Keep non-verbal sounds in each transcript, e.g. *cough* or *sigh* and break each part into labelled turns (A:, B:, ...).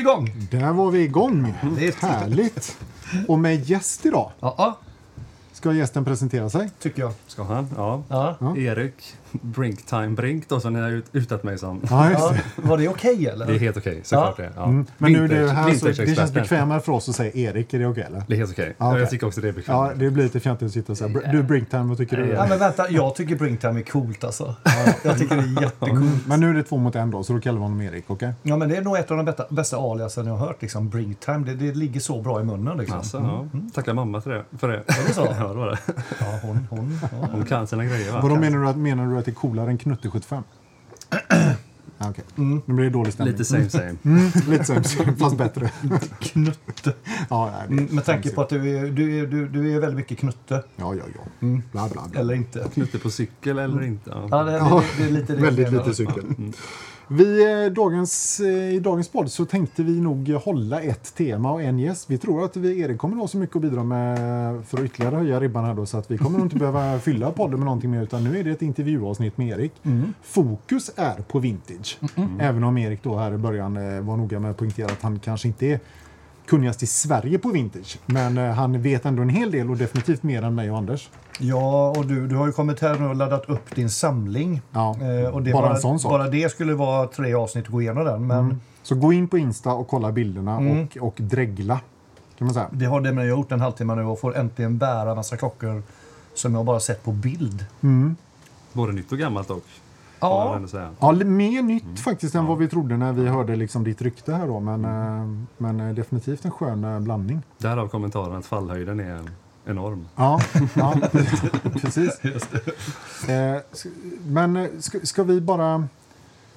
A: igång!
B: Där var vi igång.
A: Det är ett-
B: Härligt. Och med gäst idag.
A: Ja, ja,
B: Ska gästen presentera sig?
A: tycker jag.
C: Ska han? Ja.
A: Ja.
C: Erik Brinktime Brink då som ni har ut, utat mig som.
B: Ja, just
A: Ja, *laughs*
B: det.
A: var det okej eller?
C: Det är helt okej, såklart
A: Ja.
C: det. Ja.
B: Men nu är det här så
C: vintage-experten.
B: det känns bekvämare för oss att säga Erik. Är det okej eller?
C: Det är helt okej.
B: Ja, okej.
C: Jag tycker också det är bekvämt.
B: Ja, det blir lite fjantigt att sitta och säga "Br- du Brinktime, vad tycker du?
A: Ja, men vänta, jag tycker Bringtime är coolt alltså. Jag tycker det är jättecoolt.
B: Men nu är det två mot en då, så då kallar vi honom Erik, okej?
A: Ja, men det är nog ett av de bästa, bästa aliasen jag har hört. Liksom. Bringtime, det, det ligger så bra i munnen. Liksom.
C: Alltså,
B: Mm.
C: ja. Tackar mamma för det. För det.
A: Är det så?
C: Ja, det var det.
A: Ja, hon, hon, ja.
C: Hon kan sina grejer va?
B: Vadå menar du, att, menar du att det är coolare än Knutte 75? Ja, Okej,
A: Mm.
B: nu blir det dålig stämning.
C: Lite same same.
B: *laughs* Mm, lite sämre, fast bättre.
A: Knutte.
B: Ja, nej, det är
A: Mm, Med tanke
B: sämre.
A: på att du är, du, är, du, du är väldigt mycket knutte,
B: Ja, ja, ja. Bla, bla, bla.
A: Mm. eller inte.
C: Knutte på cykel eller
B: Mm.
C: inte.
A: Ja,
C: Ja.
A: det, det, det, det är lite det jag
B: Väldigt
A: menar.
B: lite cykel. Mm. Vi, eh, dagens, eh, I dagens podd så tänkte vi nog hålla ett tema och en gäst. Vi tror att vi, Erik kommer ha så mycket att bidra med för att ytterligare höja ribban här då, så att vi kommer nog inte
A: *laughs*
B: behöva fylla podden med någonting mer utan nu är det ett intervjuavsnitt med Erik.
A: Mm.
B: Fokus är på vintage. Även om Erik då här i början eh, var noga med att poängtera att han kanske inte är kunnigast i Sverige på vintage. Men eh, han vet ändå en hel del och definitivt mer än mig och Anders.
A: Ja, och du, du har ju kommit här nu och laddat upp din samling.
B: Ja,
A: Eh, och det
B: bara
A: bara,
B: en sån sak.
A: bara det skulle vara tre avsnitt att gå igenom den, men
B: Så gå in på Insta och kolla bilderna
A: Mm.
B: och, och dregla. Kan man säga.
A: det har det med jag gjort en halvtimme nu och får äntligen bära massa klockor som jag bara sett på bild.
C: Både nytt och gammalt dock. får man
A: Ja,
C: ändå säga.
B: Ja, li- mer nytt faktiskt än vad vi trodde när vi hörde liksom ditt rykte här då. Men, eh, men eh, definitivt en skön eh, blandning.
C: Därav kommentaren att fallhöjden är enorm.
B: Ja, ja *laughs* precis. Eh, sk- Men eh, ska, ska vi bara...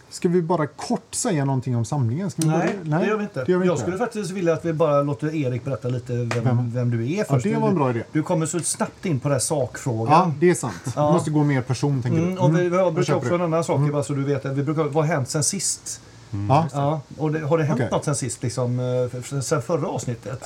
B: Ska vi bara kort säga någonting om samlingen? Ska vi
A: nej,
B: börja?
A: det gör vi inte.
B: Det gör vi
A: jag
B: inte.
A: skulle faktiskt vilja att vi bara låter Erik berätta lite vem, vem du är
B: ja,
A: först.
B: det var en bra idé.
A: Du, du kommer så snabbt in på den här sakfrågan.
B: Ja, det är sant.
A: Ja.
B: Vi måste gå mer person, tänker
A: Mm,
B: du.
A: och vi, vi har
B: då
A: brukar
B: köper Mm.
A: också
B: vi.
A: en annan sak, bara så du vet. att Vi brukar, vad har hänt sen sist?
B: Ja,
A: Ja, och det, har det hänt
B: Okej.
A: något sen sist, liksom, eh, sen- sen förra avsnittet?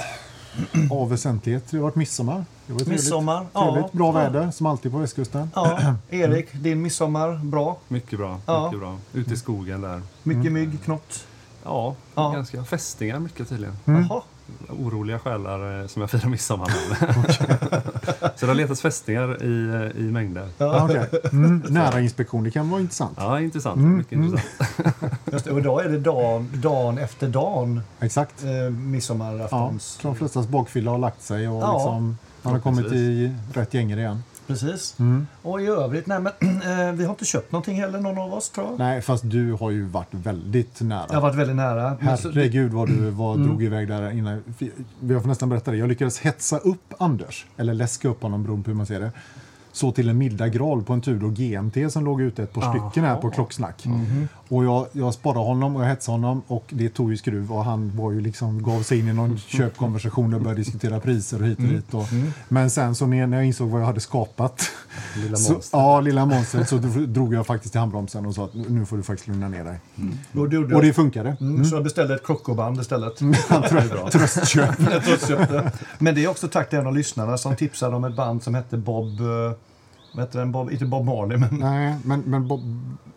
B: av väsentlighet. Det har varit midsommar. Det var trevligt.
A: Midsommar, ja.
B: Trevligt. Bra
A: Ja.
B: väder, som alltid på västkusten.
A: Ja, *clears throat* Erik, din midsommar, bra.
C: Mycket bra.
A: Ja.
C: Mycket bra. Ute i skogen där.
B: Mm.
A: Mycket mygg, knott.
C: Ja,
A: Ja.
C: ganska. Fästingar mycket tydligen.
B: Mm.
A: Jaha.
C: oroliga själar eh, som jag firar midsommar *laughs* med. *laughs* så det har letats fästingar i, eh, i mängder.
B: Ja, okej. mm, nära inspektion, det kan vara intressant.
C: Ja, intressant. Mycket intressant.
A: Just det, och idag är det dagen, dagen efter dagen,
B: Exakt.
A: eh,
B: Ja,
A: midsommaraftons.
B: de flestas bakfylla har lagt sig och
A: Ja.
B: liksom, man har kommit i rätt gänger igen.
A: Precis. Och i övrigt, nej men *clears throat* eh, vi har inte köpt någonting heller någon av oss tror jag.
B: Nej, fast du har ju varit väldigt
A: Jag har
B: nära.
A: varit väldigt nära. Men så- Mm.
B: Herregud vad du var, drog iväg där innan. Jag får nästan berätta det. Jag lyckades hetsa upp Anders, eller läska upp honom beroende på hur man ser det. Så till en milda gral på en Tudor GMT som låg ute ett par stycken här på klocksnack.
A: Mhm.
B: Och jag, jag sparade honom och jag hetsade honom och det tog ju skruv och han var ju liksom, gav sig in
A: *laughs*
B: i någon köpkonversation och började diskutera priser och hit
A: Mm.
B: och dit. Och, Men sen så när när jag insåg vad jag hade skapat
C: mm. Lilla
B: så,
C: monster.
B: ja, lilla monstret så drog jag faktiskt i handbromsen och sa att nu får du faktiskt lugna ner dig.
A: och det gjorde jag.
B: Och det funkade. *laughs*
A: Mm, Så jag beställde ett klockoband istället.
B: Han trö-
A: *laughs*
B: tröstköp.
A: Jag tröstköpte. Men det är också tack till en av lyssnarna som tipsade om ett band som hette Bob... eh, Vad hette den? Bob, inte Bob Marley, men...
B: Nej, men, men Bob,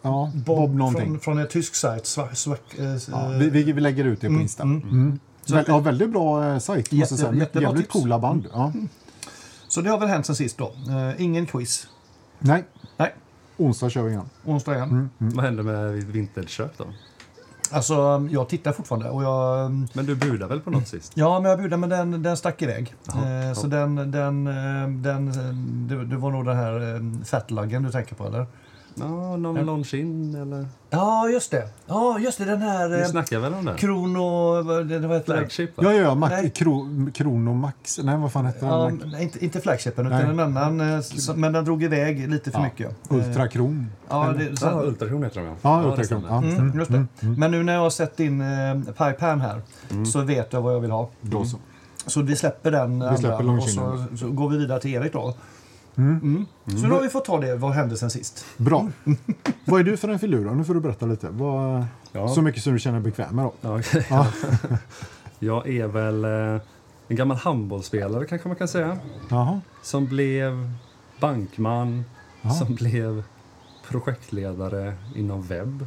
B: ja, Bob, någonting.
A: Från, från en tysk sajt. Sva, sva, eh,
B: Ja, vi, vi, vi lägger ut det på Insta. Mm, Väl, ja, väldigt bra eh, sajt, måste
A: Jätte-
B: jag säga.
A: jättebra
B: Jävligt
A: tips.
B: coola band. Ja.
A: Så det har väl hänt sen sist då. Eh, ingen quiz.
B: Nej,
A: Nej, Mm.
B: onsdag kör vi igen.
A: onsdag igen.
C: Vad händer med ditt vinterköp då?
A: Alltså, jag tittar fortfarande och jag... mm,
C: Men du budade väl på något sist?
A: Ja, men jag bjuder, men den, den stack iväg.
C: Jaha,
A: eh, så
C: ja.
A: den, den, eh, den, eh, det, det var nog den här eh, fatluggen du tänker på, eller?
C: Mm. Ja, någon, någon kind eller?
A: Ja, just det. Ja, just det, den här
C: Vi
A: eh,
C: snackar väl om det?
A: Krono... Vad det- vad heter den?
C: Flagship va?
B: Ja, ja, ja Mac,
A: Nej.
B: Kro, Kronomax. Nej, vad fan hette den?
A: Ja,
B: Mac-
A: nej, inte, inte flagshipen, utan
B: Nej.
A: en annan. eh, som- Men den drog iväg lite för
B: Ja,
A: mycket. Eh,
B: Ultra Kron.
A: Ja, det, så,
C: Ja, Ultrakron heter de ja.
B: Ja,
C: det
B: Ultra Kron.
C: stämmer.
B: Ja.
A: Mm, Mm. just det. Men nu när jag har sett in eh, Pipan här så vet jag vad jag vill ha.
B: Då så.
A: Så vi släpper den andra
B: släpper
A: och så,
B: långkindaren.
A: så går vi vidare till Erik då. Mm. Så då har vi fått ta det, vad hände sen sist?
B: Bra. vad är du för en filur då? Nu får du berätta lite. Vad,
C: Ja.
B: Så mycket som du känner dig bekväm med då.
C: Ja, okej. *laughs* Jag är väl eh, en gammal handbollsspelare kanske man kan säga.
B: Jaha.
C: Som blev bankman,
B: Ja.
C: som blev projektledare inom webb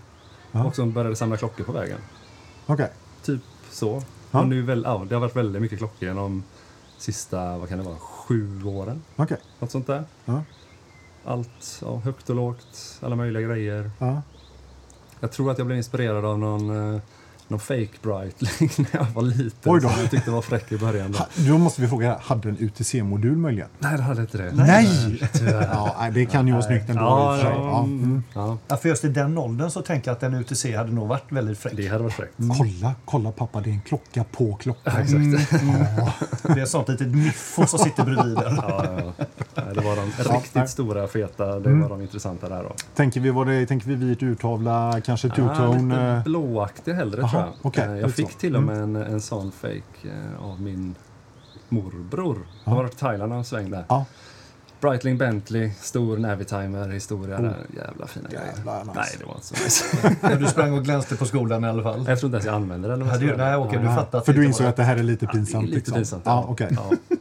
B: Ja.
C: och som började samla klockor på vägen.
B: Okej.
C: Typ så.
B: Ja.
C: Och nu väl, ja, det har varit väldigt mycket klockor genom sista, vad kan det vara, sju åren.
B: Okej.
C: Något sånt där.
B: Ja.
C: Allt, ja, högt och lågt, alla möjliga grejer.
B: Ja.
C: Jag tror att jag blev inspirerad av någon, eh, någon fake brightling *laughs* när jag var liten.
B: Oj då.
C: Som jag tyckte var fräck i början. Då.
B: Ha, då måste vi fråga, hade den UTC-modul möjligen?
C: Nej, det hade inte det.
B: Nej!
C: Tyvärr.
B: Ja, nej, det kan ju vara snyggt ändå i och för sig. Ja. Mm.
C: ja,
A: Ja, för just i den åldern så tänker jag att en UTC hade nog varit väldigt fräck.
C: det hade varit fräckt.
B: Kolla, kolla pappa, det är en klocka på klockan.
C: Exakt.
B: Mm.
A: *laughs* Det är sånt litet miffo som sitter bredvid den.
C: Ja, ja, ja. Nej, det var de riktigt
B: nej.
C: stora, feta. Det
B: Mm.
C: var de intressanta där då.
B: Tänker vi vad det tänker vi vit urtavla, kanske two-tone?
C: Ah,
B: eh,
C: lite blåaktig hellre
B: Aha,
C: tror jag.
B: okej, Mm.
C: Eh,
B: lite
C: jag fick
B: så.
C: till och med en, en sån fake eh, av min morbror. Han var varit i Thailand en sväng där.
B: Ja.
C: Breitling Bentley, stor Navitimer, historia där. Jävla fina grejer.
B: Oh. Jävlar, nice.
C: Nej, det var inte så nice.
A: Men du sprang och glänste på skolan i alla fall.
C: jag tror inte ens jag använde det. Eller vad
A: Hade ju,
C: jag ska
A: nej,
C: göra.
A: okej,
C: Ja.
A: du fattar. att
B: För
A: det
B: du
A: inte
B: insåg
A: var
B: att det här är lite
C: Det är
B: pinsamt?
C: Lite
B: liksom.
C: pinsamt.
B: Ja, okej.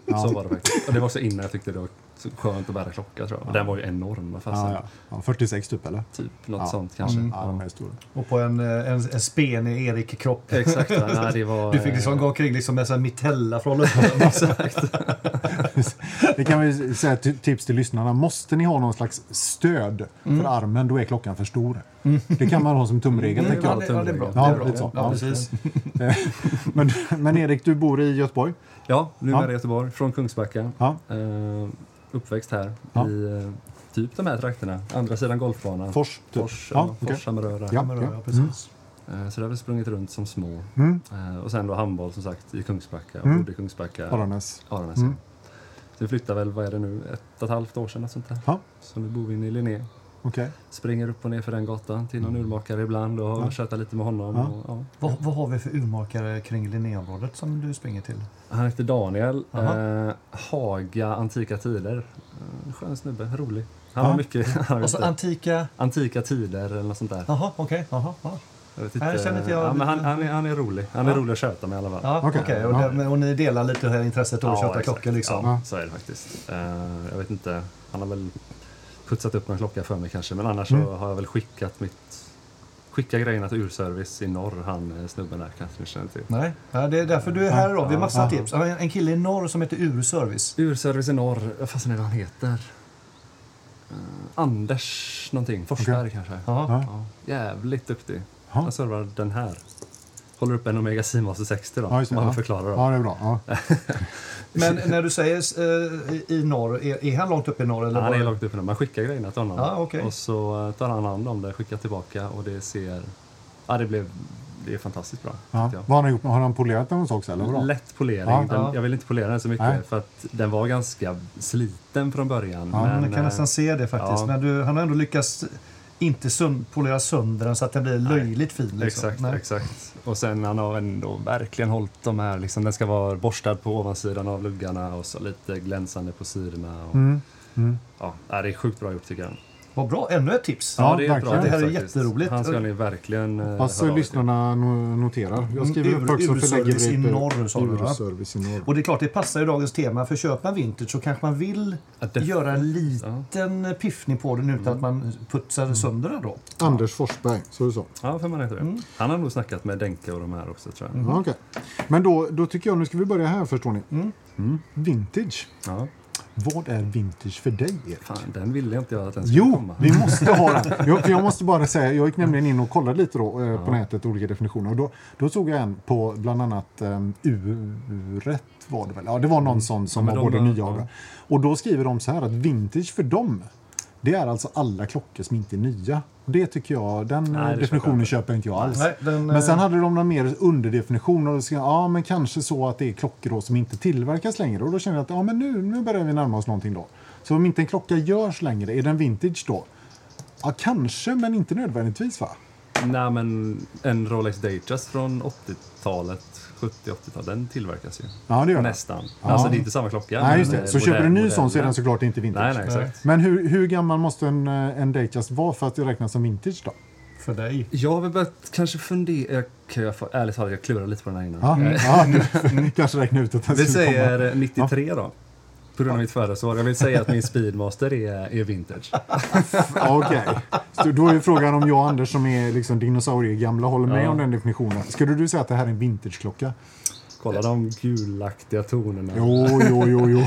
C: ja, Så var det faktiskt. Och det var också innan jag tyckte det var så skönt att bära klocka tror jag. Och Den var ju enorm. vad fasen.
B: Ja, ja. Ja, 46 typ, eller?
C: Typ något
B: Ja. Mm.
C: sånt kanske.
B: Ja, de är stora.
A: Och på en, eh, en, en spenig Erik-kropp.
C: Exakt. *laughs* ja. Nej, det var,
A: Du fick liksom
C: eh,
A: gå omkring liksom med en mitella från
C: Mm.
A: luften.
B: Det kan vi säga till- tips till lyssnarna. Måste ni ha någon slags stöd för armen, då är klockan för stor. Det kan man ha som tumregel. tänker
A: ja,
B: jag.
A: det, ja, det är bra.
B: Ja,
A: det är bra.
B: lite så. Ja,
A: Ja, precis.
B: Men, men Erik, du bor i Göteborg.
C: Ja, nu är
B: Ja.
C: jag i Göteborg, från Kungsbacka.
B: Ja.
C: Eh, uppväxt här
B: Ja.
C: i eh, typ de här trakterna. Andra sidan golfbanan.
B: Fors, typ.
C: Fors,
B: ja,
C: ja,
B: okej.
C: Fors Hammarö där.
B: Ja.
A: Kommer att- ja, precis.
C: Eh, Så där har vi sprungit runt som små.
B: Mm.
C: Eh, Och sen då handboll som sagt i Kungsbacka.
B: Mm.
C: Och bodde i Kungsbacka.
B: Aranäs.
C: Aranäs. ja.
B: Mm.
C: Så vi flyttade väl, vad är det nu, ett och ett halvt år sedan något sånt där.
B: Ja,
C: Så nu bor vi inne i Linné.
B: okej.
C: Springer upp och ner för den gatan till någon urmakare ibland och
B: Mm. Ja.
C: tjötar lite med honom.
B: Ja.
C: Och, ja.
A: Vad, vad har vi för urmakare kring Linnéområdet som du springer till?
C: Han heter Daniel.
A: Aha.
C: Eh, Haga Antika Tider. Eh, skön snubbe, rolig. Han
B: Ja.
C: har mycket... *laughs* Han har
A: Och så
C: lite-
A: antika...
C: Antika tider eller något sånt där.
A: Jaha, okej. Jaha, ja.
C: Jag vet
A: Nej, det känner inte jag.
C: Ja, men han, han, är, han är rolig. Han är
A: Ja.
C: rolig att köta med i alla fall.
A: Ja,
B: Okej.
A: okej. Och,
B: Ja.
A: det- men- och ni delar lite det här intresset att
C: Ja,
A: köpa
C: exakt.
A: klockor liksom?
C: Ja,
B: Ja.
C: så är det faktiskt. Eh, jag vet inte, han har väl putsat upp någon klocka för mig kanske. Men annars
B: Mm.
C: så har jag väl skickat mitt... Skicka grejerna till urservice i norr, han eh, snubben där kanske ni känner till.
A: Nej, ja, det är därför du är här idag. Vi har massa
B: Ja.
A: tips. Ja, En en kille i norr som heter Urservice.
C: Urservice i norr, vad fasen är det han heter? Eh, Anders någonting, Forsberg kanske.
A: Ja.
B: Ja.
C: Ja, jävligt duktig.
B: Ja.
C: Han servar den här. Håller upp en Omega Seamaster 60 då,
B: Ja, just det.
C: som han
B: Ja.
C: förklarar då.
B: ja, det är bra.
C: *laughs*
B: Ja.
A: Men när du säger eh, i- i norr, är, är han långt upp i norr? Eller
C: Ja, han
A: bara-
C: är långt uppe nu. Man skickar grejerna till honom.
A: Ja, okej.
C: Och så eh, tar han hand om det, skickar tillbaka och det ser... Ja, det blev... Det är fantastiskt bra.
B: Ja.
C: tyckte
B: Vad har han gjort? Har han polerat den hos också? Eller?
C: jag.
B: Vadå?
C: Lätt polering.
B: Ja.
A: Ja.
C: Den, jag vill inte polera den så mycket
B: Nej.
C: för att den var ganska sliten från början.
B: Ja,
A: Ja, man kan
C: eh,
A: nästan se det faktiskt.
C: ja.
A: Men du, han har ändå lyckats inte sund, polera sönder den så att den blir löjligt fin. Liksom.
C: Exakt,
A: Nej.
C: exakt. Och sen han har ändå verkligen hållit de här, liksom, den ska vara borstad på ovansidan av luggarna och så lite glänsande på sidorna. Och,
B: Mm. Mm.
C: ja, det är sjukt bra gjort tycker jag.
A: Vad bra, ännu ett tips.
B: Ja,
C: det är ett
B: verkligen.
C: bra
B: Det
A: här
C: tips
A: är
C: faktiskt.
A: jätteroligt.
C: Han ska ni verkligen eh,
B: Fast
C: höra av er till.
B: Alltså, lyssnarna no- noterar. Jag skriver
A: Mm, Ur-
B: upp också för lägger
A: urservice
B: vi
A: i
B: upp-
A: norr, sa du, va?
B: Urservice i norr.
A: Och det är klart, det passar ju dagens tema. För köper man vintage så kanske man vill
C: Ja, definitivt.
A: göra en
C: Ja. Mm.
A: liten piffning på den utan att man putsar sönder den då.
B: Anders Forsberg, så du så?
C: Ja, för man heter det.
B: Mm.
C: Han har nog snackat med Denke och de här också tror jag.
B: Ja, okej.
A: Mm.
B: Men då, då tycker jag, nu ska vi börja här förstår ni.
C: Mm.
B: Vintage.
C: Ja,
B: Vad är vintage för dig Erik?
C: fan, den ville jag inte jag att den skulle
B: Jo,
C: komma.
B: vi måste ha
C: *laughs*
B: den. Jag, för jag måste bara säga, jag gick nämligen in och kollade lite då, eh, på nätet, olika definitioner. Och då, då såg jag en på bland annat um, uret var det väl? Ja, det var någon sån som
C: Mm. men
B: var
C: de
B: både
C: var-
B: nya och bra. Och då skriver de så här att vintage för dem, det är alltså alla klockor som inte är nya. Och Det tycker jag, den eh,
C: det köper jag
B: definitionen
C: inte.
B: köper inte jag alls.
A: Nej, den,
B: men sen
A: eh,
B: hade de någon mer underdefinition och då skrev jag, ja men kanske så att det är klockor då som inte tillverkas längre. Och då kände jag att ja, men nu, nu börjar vi närma oss någonting då. Så om inte en klocka görs längre, är den vintage då? Ja, kanske, men inte nödvändigtvis va?
C: Nej, men en Rolex Datejust från 80-talet, 70-80-talet, den tillverkas ju.
B: Ja, det gör den.
C: Nästan. Alltså det är inte samma klocka.
B: Nej,
C: men,
B: just
C: eh,
B: det. Så köper du en ny
C: modell-
B: sån så är den
C: modellen.
B: såklart inte vintage.
C: Nej, nej, exakt.
B: Men hur, hur gammal måste en, eh, en Datejust vara för att det räknas som vintage då?
A: För dig.
C: Jag har väl börjat kanske fundera, jag, kan- jag, får- ärligt talat jag klurar lite på den här innan.
B: *laughs* Ja, ja du, kanske räkna ut att den
C: Vi
B: skulle komma.
C: säger 93 då. på grund av mitt förra svar. Jag vill säga att min Speedmaster är, är vintage.
B: Ja, Okej. Så Då är ju frågan om jag och Anders som är liksom dinosauriegamla håller med
C: Ja.
B: om den definitionen. Skulle du säga att det här är en vintageklocka?
C: Kolla de gulaktiga tonerna.
B: Jo, jo, jo, *laughs* jo.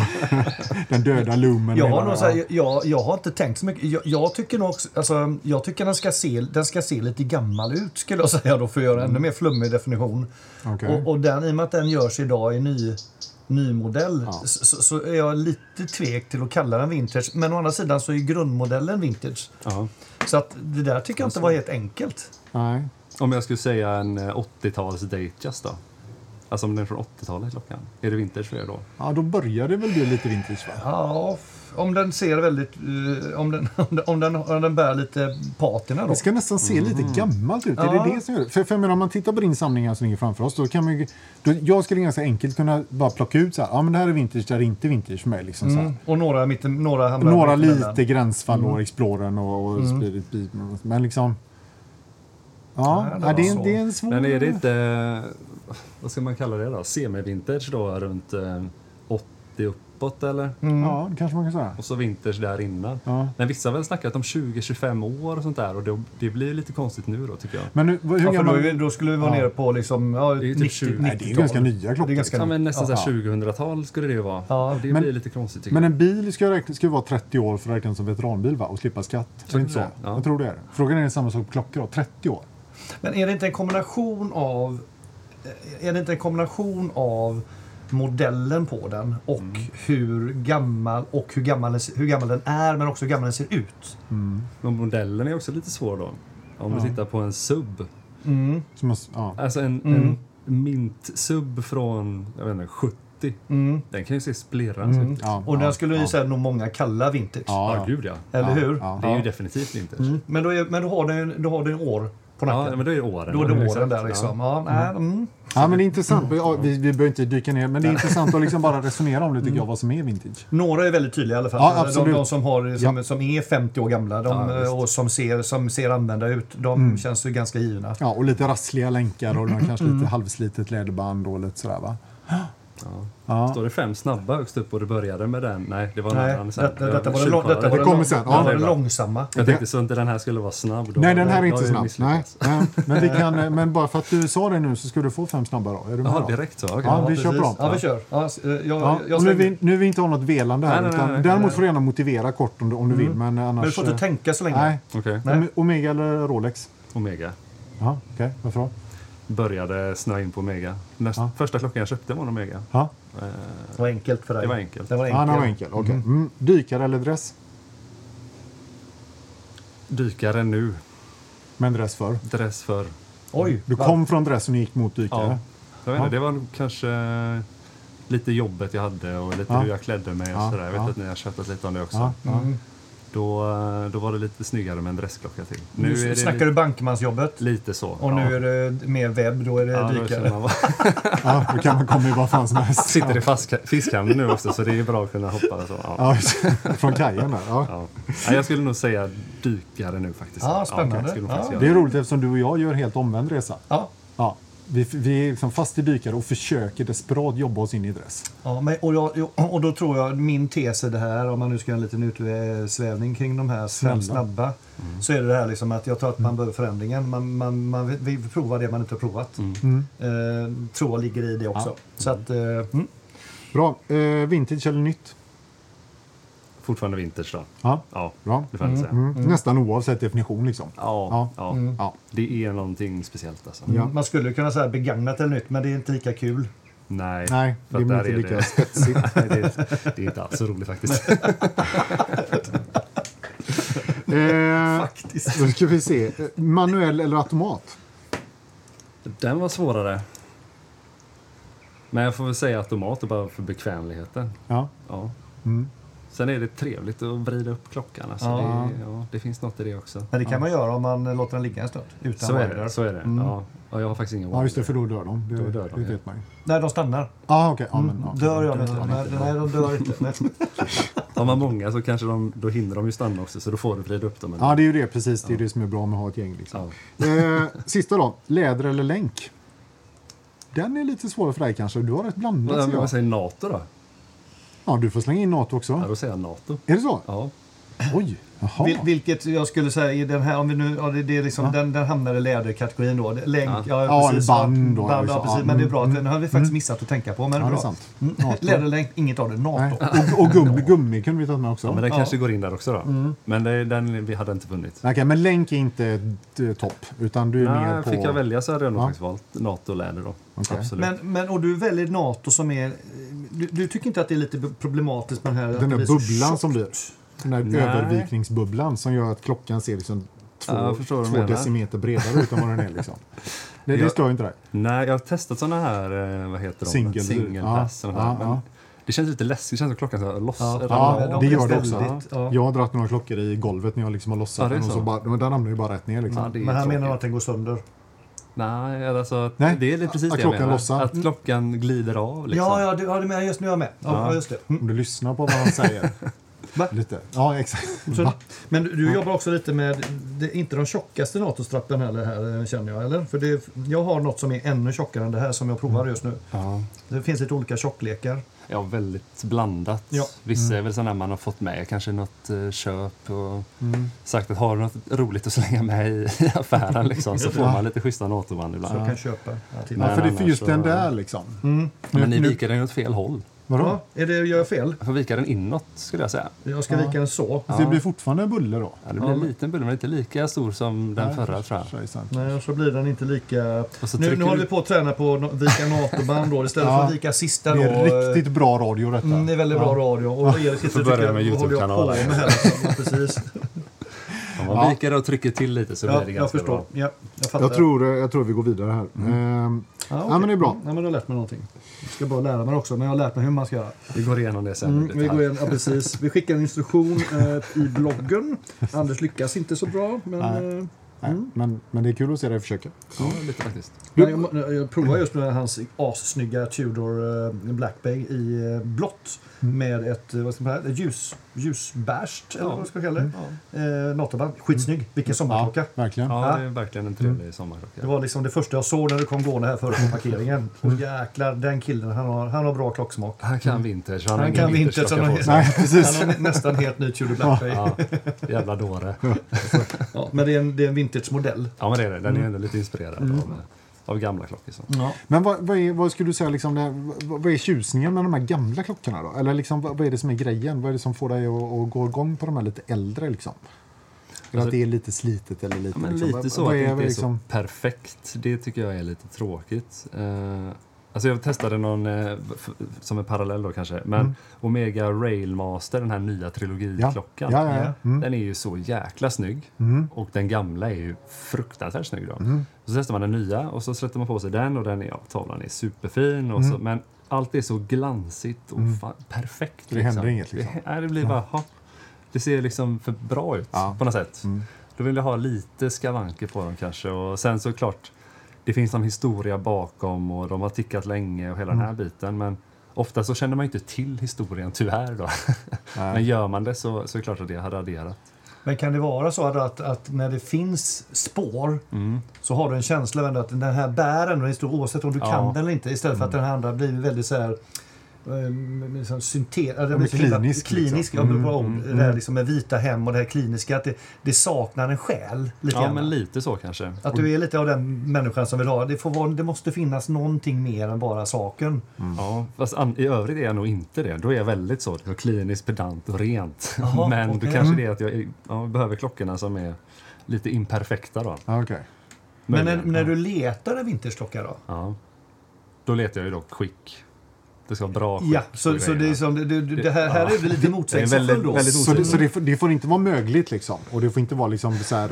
B: Den döda lumen.
A: Jag
B: menar
A: har, nog
B: jag.
A: så här, jag, jag har inte tänkt så mycket. Jag, jag tycker nog också, alltså, jag tycker den ska, se, den ska se lite gammal ut skulle jag *laughs* säga då för att göra en ännu mer flummig definition.
B: Okej.
A: Och, och den, i och med att den görs idag i ny, ny modell s- så, så är jag lite tvek till att kalla den vintage. Men å andra sidan så är ju grundmodellen vintage.
C: Ja.
A: Så att det där tycker jag inte var helt enkelt.
B: Nej.
C: Om jag skulle säga en eh, 80-tals Datejust då? Alltså om den är från 80-talet klockan. Är det vintage för er då?
B: Ja, då börjar det väl bli lite vintage va?
A: Ja, f- om den ser väldigt... eh, om, den, *laughs* om, den, om, den, om den bär lite patina då.
B: Det ska nästan se lite gammalt ut. Är
A: Mm. Ja.
B: det det som gör det? För, för jag menar, om man tittar på din samling här som ligger framför oss. Då kan man ju, då, jag skulle ganska enkelt kunna bara plocka ut så här. Ja, men det här är vintage, det här är inte vintage för mig. Liksom, så här.
A: Mm. Och några, mitten, några hamnar
B: Några
A: mittemellan.
B: lite gränsfall
A: Mm.
B: och Explorern och, och Spirit Beam. Men liksom... Ja,
A: Nej, det
B: ja, det,
A: var
B: är, en-
A: så.
B: det är en svår...
C: Men är det inte, eh, vad ska man kalla det då? Semi-vintage då runt eh, 80 uppåt eller?
A: Mm.
B: Ja, det kanske man kan säga.
C: Och så vintage där innan.
B: Mm. Ja.
C: Men vissa har väl snackat om 20-25 år och sånt där och det, det blir lite konstigt nu då tycker jag.
B: Men nu, vad- hur
A: Ja, för då,
B: gammal...
A: är vi, då skulle vi vara
B: Ja.
A: nere på liksom, ja,
C: Det är ju typ
A: 90,
C: 20.
B: Nej, det är ju ganska nya klockor.
A: Det är ganska
C: Ja,
B: liksom.
C: men nästan
B: Ja.
C: så här 2000-tal skulle det ju vara.
A: Ja.
C: det
B: Men-
C: blir lite konstigt tycker
B: Men
C: jag.
B: en bil ska, ju räkna, ska ju vara 30 år för att räknas som veteranbil va? och slippa skatt. Är det inte så?
C: det? Ja.
B: Jag tror det är det. Frågan är samma sak på klockor då. 30 år.
A: Men är det inte en kombination av eh, är det inte en kombination av modellen på den och
B: Mm.
A: hur gammal och hur gammal, den- hur gammal den är men också hur gammal den ser ut.
C: Men modellen är också lite svår då. Om vi tittar på en sub.
B: Så man, s- ja.
C: Alltså en, en mint-sub från, jag vet inte, 70. Den kan ju se splirrans ut. Ja,
B: Ja,
A: Och
B: ja,
A: den skulle ju säga nog många kalla vintage.
B: Ja, ja.
C: gud ja.
A: Eller
B: Ja,
A: hur?
B: ja.
C: Det är ju definitivt vintage.
A: Men, då är, men då har den ju- då har den ju år på nacken.
C: Ja, men då är det åren.
A: Då är det åren
C: Exakt,
A: där liksom. Ja, nej, mm.
B: Ja, men det är intressant. Ja, vi, vi behöver inte dyka ner, men det är intressant att liksom bara resonera om det tycker jag, vad som är vintage.
A: Några är väldigt tydliga i alla fall.
B: Ja,
A: Alltså, de,
B: absolut.
A: de som, har, som, som är 50 år gamla de, eh,
C: Ja, visst.
A: och som ser, som ser använda ut, de känns ju ganska givna.
B: Mm. Ja, och lite rassliga länkar och någon, kanske lite halvslitet läderband och lite sådär va?
C: Ja.
B: Ja.
C: Står det fem snabba högst upp och du började med den? Nej, det var en
A: Nej,
C: annan. sen.
A: detta,
C: Jag-
A: detta var den, lång-
C: tjuvkollade.
A: detta var
B: Det
A: den,
B: kommer
A: lång-
B: sen.
A: detta
B: Ja,
A: var
C: det är
A: den
C: bra.
A: långsamma.
C: Jag tänkte så inte den här skulle vara snabb. Då.
B: Nej, den här är
C: Då
B: inte
C: har jag
B: snabb. Nej,
C: misslyckats.
B: nej. Men, vi kan, eh, men bara för att du sa det nu så ska du få fem snabba då. Är du med
C: Jaha,
B: då?
C: direkt så? okej.
B: Ja, vi kör på
A: precis.
B: dem.
A: Ja, vi kör. Ja, s- eh, jag,
B: Ja,
A: jag
B: och nu,
A: slänger.
B: vi, nu vill vi inte ha något velande här.
C: Nej, nej,
B: utan,
C: nej, Mm. nej.
B: däremot får du gärna motivera kort om du, om du vill. Men eh, annars...
A: Men du får inte
B: eh,
A: tänka så länge.
B: Nej.
C: Okej.
A: Nej.
B: Ome- Omega eller Rolex?
C: Omega.
B: Ja, okej. Varför då?
C: Började snöa in på Omega. Näst,
B: Ja.
C: Första klockan jag köpte var en Omega.
B: Ja,
A: Det var enkelt för dig.
C: Det var enkelt.
A: Det var
B: ja
A: enkelt.
B: den var enkel. Okej. Mm. Dykare eller dress?
C: Dykare nu.
B: Men dress för.
C: Dress för.
A: Oj,
B: Du
A: va-
B: kom från dress och ni gick mot dykare?
C: Jag vet inte, det var nog kanske lite jobbet jag hade och lite
B: Ja.
C: hur jag klädde mig och
B: Ja,
C: sådär. Jag vet
B: ja.
C: att ni har tjatat lite om det också.
B: Ja.
A: Mm.
C: Då, eh, då var det lite snyggare med en dressklocka till. Nu
A: nu
C: är det
A: snackar
C: lite,
A: du bankmansjobbet.
C: lite så.
A: Och nu är det mer webb, då är det
C: ja, då
A: dykare.
C: känner man bara- *laughs*
B: Ja, då kan man komma i vad fan som helst.
C: Sitter i fast- fiskhamnen nu också så det är bra att kunna hoppa så. Ja.
B: Ja, från kajen där. Ja.
C: Ja. Nej, jag skulle nog säga dykare nu faktiskt.
A: Ja, spännande.
C: jag skulle nog
A: Ja.
C: faktiskt
B: Det
C: göra
B: är roligt eftersom du och jag gör helt omvänd resa.
A: Ja.
B: Ja. Vi, vi är liksom fast i dykare och försöker desperat jobba oss in i dress.
A: Ja, men, och, jag, och då tror jag min tes är det här, om man nu ska göra en liten utsvävning kring de här snabba, snabba så är det det här liksom att jag tror att man behöver förändringen. Man, man, man vill- vill prova det man inte har provat. Eh, tror jag ligger i det också. Så att, eh, mm.
B: Bra. Eh, vintage eller nytt?
C: Fortfarande vintage då.
B: Ja.
C: Ja,
B: Bra.
C: det får jag inte säga.
B: Mm. Nästan oavsett definition liksom.
C: Ja, ja.
B: Ja. Mm.
C: det är någonting speciellt alltså.
B: Ja.
A: man skulle kunna säga begagnat eller nytt, men det är inte lika kul.
C: Nej,
B: Nej,
C: för
B: det
C: att
B: blir
C: där
B: inte
C: är
B: lika
C: det-
B: spetsigt.
C: *laughs* Nej, det, är- det är inte alls så roligt faktiskt.
B: Eh,
A: Faktiskt.
B: då ska vi se. Eh, Manuell eller automat?
C: *laughs* Den var svårare. Men jag får väl säga automat bara för bekvämligheten.
B: Ja.
C: Ja.
B: Mm.
C: Sen är det trevligt att vrida upp klockan. Alltså.
A: Ja.
C: Det, ja, det finns något i det också.
A: Men det kan man göra om man eh, låter den ligga en stund. Utan
C: Så är
A: winder.
C: det. Så är det. Ja. Och jag har faktiskt ingen
B: Mm. Ja, just det,
C: winder.
B: för då dör de. Det,
C: Då dör de,
B: det
C: ja.
B: vet man ju.
A: Nej, de stannar.
B: Ah, okej. Ja, men, ja.
A: Dör jag inte? Nej, nej, de dör inte. Nej.
C: Har man många så kanske de, då hinner de ju stanna också så då får du vrida upp dem.
B: ja, det är ju det precis. Det är det som är bra med att ha ett gäng. Liksom.
C: Ja.
B: Eh, sista då. Läder eller länk? Den är lite svårare för dig kanske. Du har rätt blandat.
C: Vad
B: ser jag.
C: vad säger NATO då?
B: Ja, du får slänga in NATO också.
C: Ja, då säger jag NATO.
B: Är det så?
C: Ja.
B: Oj! Jaha.
A: Vil, vilket jag skulle säga, i den här, om vi nu, ja, det, det är liksom, den, den hamnar i läderkategorin då. Det- Länk,
C: Ja.
A: ja,
B: Ja,
A: precis.
B: eller band då,
A: band,
B: liksom.
A: ja,
B: Ja,
A: precis. Men
B: mm,
A: det är bra, att den har vi faktiskt missat att tänka på. Men
B: Ja, det är
A: bra.
B: sant.
A: Mm.
B: NATO.
A: *laughs* Läderlänk, inget av det.
B: Nej.
A: NATO.
B: Och, och gummi, gummi kunde vi tagit med också.
C: Ja, Mm. men den kanske går in där också då. Men det, den, vi hade inte vunnit.
B: Okej, men länk är inte ett, eh, topp, utan du är mer
C: Nej,
B: på...
C: fick jag välja så hade jag nog
B: Ja.
C: faktiskt valt NATO-läder då.
B: Okej.
C: Absolut.
A: Men, men, och du väljer NATO som är... Du, du tycker inte att det är lite problematiskt med den här... att
B: Den
A: det blir
B: där
A: så
B: bubblan
A: tjockt?
B: som blir. Den där
C: Nej.
B: övervikningsbubblan som gör att klockan ser liksom två,
C: Ja, jag förstår vad du
B: två
C: menar.
B: decimeter bredare ut än vad den är.
C: *laughs*
B: Liksom. Det, det
C: Jag-
B: stör ju inte dig.
C: Nej, jag har testat såna här, eh, vad heter de?
B: Single-
C: Singelpass.
B: ja,
C: såna här.
B: ja,
C: Men
B: ja.
C: Det känns lite läskigt, det känns som klockan ska loss.
A: Ja,
C: ramla
B: Ja,
C: av.
B: det
A: de
B: gör
A: är
B: det också.
A: väldigt- ja.
B: Jag har dragit några klockor i golvet när jag liksom har lossat
C: Ja, det är
B: den. Och så
C: så.
B: bara, men den ramlar ju bara rätt ner. Liksom.
C: Ja, det är
A: Men han
C: tråkigt.
A: menar att den går sönder.
C: Nej, alltså, att
B: Nej,
C: det är lite precis
B: att
C: det
B: klockan
C: jag menar.
B: lossar.
C: Att klockan glider av liksom.
A: Ja, ja, du, ja, du menar just nu är jag med. Ja,
C: Ja.
A: ja. just det. Mm.
B: Om du lyssnar på vad han säger.
A: *laughs* Va?
B: Lite. Ja, exakt.
A: Så,
B: Va?
A: men du, du jobbar också lite med, det, inte de tjockaste NATO-strappen heller här eh, känner jag, eller? För det, jag har något som är ännu tjockare än det här som jag provar just nu.
C: ja.
A: Det finns lite olika tjocklekar.
C: Ja, väldigt blandat.
A: Ja.
C: Vissa är väl sådana man har fått med kanske i något eh, köp och sagt att har du något roligt att slänga med i *laughs* i affären liksom, så får man lite schyssta NATO-band
A: Så
C: ibland.
A: jag kan köpa till.
B: Ja,
C: Men
B: för det är för
C: annars
B: just
C: så-
B: den där liksom.
A: Mm.
C: Men ni viker den ju åt fel håll.
B: Vadå?
A: Ja, är det, gör jag fel?
C: Jag får vika den inåt skulle jag säga.
A: Jag ska vika den så.
B: Så det blir fortfarande en bulle då?
C: Ja, det blir en liten bulle, men inte lika stor som den förra tror jag.
B: Så är det sant.
A: Nej, och så blir den inte lika...
C: Och så
A: Nu,
C: trycker
A: nu håller
C: du-
A: vi på att träna på att vika NATO-band då istället
B: Ja.
A: för att vika sista
B: Det
A: då. eh,
B: är riktigt bra radio detta.
A: Mm, det är väldigt bra radio. Och Erik sitter
C: Får
A: och
C: börja
A: tycker,
C: med
A: vad håller jag på med
C: YouTube-kanaler.
A: här? liksom? Ja, Precis.
C: Om man
B: Ja.
C: viker och trycker till lite så
A: Ja,
C: blir det
A: jag
C: ganska
A: förstår.
C: bra.
A: Ja, jag fattar.
B: Jag tror, jag tror vi går vidare här. Ehm,
A: Ja,
B: ja,
A: okej.
B: men det är bra.
A: Ja, men du har lärt mig någonting. Jag ska bara lära mig också, men jag har lärt mig hur man ska göra.
C: Vi går igenom det sen. i
A: Mm, vi,
C: detalj.
A: går igen, ja, precis. vi skickar en instruktion eh, i bloggen. Anders lyckas inte så bra, men
B: Nej.
A: eh,
B: Nej, men, men det är kul att se dig försöka.
C: Ja, lite faktiskt.
A: nej, jag, må- eh, jag provar just nu hans assnygga Tudor eh, Black Bay i eh, blått med ett, eh, vad ska man säga, ett ljus, ljusbärst, eller vad man ska kalla det. Eh, Natoband. Skitsnygg. Vilken sommarklocka.
B: Verkligen.
C: Ja, Mm. det är verkligen en trevlig sommarklocka.
A: Det var liksom det första jag såg när du kom gående här före på parkeringen. Och jäklar, den killen, han har, han har bra klocksmak.
C: Han kan vintage, han, har
A: Han
C: ingen
A: kan vintage. Han
C: vintageklocka på
A: har,
C: sig.
A: Nej, han har nästan helt ny Tudor Black Bay.
C: Ja, jävla dåre.
A: Ja, men det är en, det är en vintage-modell.
C: Ja, men det är det. Den är ändå lite inspirerad av, av gamla klockor. Så.
A: Ja.
B: Men vad, vad, är, vad skulle du säga, liksom, det, vad, vad är tjusningen med de här gamla klockorna då? Eller liksom, vad, vad är det som är grejen? Vad är det som får dig att, att gå igång på de här lite äldre liksom? Eller att det är lite slitet eller lite...
C: Alltså- Ja, men
B: liksom,
C: lite
B: vad-
C: så,
B: vad
C: att det
B: är-
C: inte är
B: liksom-
C: så perfekt. Det tycker jag är lite tråkigt. Eh, alltså jag testade någon, eh, f- som en parallell då kanske, men
B: Mm.
C: Omega Railmaster, den här nya trilogiklockan.
B: Ja, Mm. ja, ja. Mm.
C: Den är ju så jäkla snygg och den gamla är ju fruktansvärt snygg. Då.
B: Mm.
C: Och så testar man den nya och så sätter man på sig den och den är, ja, tavlan är superfin. Och
B: Mm.
C: så, men allt är så glansigt och fa- perfekt.
B: Det händer inget, liksom.
C: Det, nej, det blir bara, ha, det ser liksom för bra ut
B: Ja.
C: på något sätt. Då vill jag ha lite skavanker på dem kanske. Och sen så klart, det finns någon historia bakom och de har tickat länge och hela den här biten. Men ofta så känner man ju inte till historien, tyvärr. Då. men gör man det så, så är det klart att det har raderat.
A: Men kan det vara så att, att, att när det finns spår så har du en känsla av ändå att den här bären, och det står oavsett om du
C: Ja.
A: kan den eller inte, istället för att den här andra blir väldigt så här ehm, Liksom syntet, ja, det blir så himla-
B: klinisk,
A: klinisk Mm,
B: liksom.
A: ja, men bra ord. Det här liksom med vita hem och det här kliniska, att det, det saknar en själ. Lite
C: Ja,
A: grann.
C: men lite så kanske.
A: Att du är lite av den människan som vill ha, det, får vara, det måste finnas någonting mer än bara saken.
C: Ja, fast an- i övrigt är jag nog inte det. Då är jag väldigt så jag är kliniskt pedant och rent.
A: Jaha,
C: *laughs* men
A: okej.
C: då kanske det är att jag är- ja, behöver klockorna som är lite imperfekta. Då.
B: Ja, okej.
A: Men när,
C: Möjligen,
A: när
C: ja.
A: du letar en vinterklocka då?
C: Ja. Då letar jag ju dock skick. Det ska vara bra skick.
A: Ja,
C: på
A: så, så det, är
C: grejerna.
A: som, det, det, det här, här är det lite motsägelsefullt
C: väldigt-
A: då?
C: väldigt
B: Så, det, så det, får, det får inte vara mögligt liksom? Och det får inte vara liksom så här,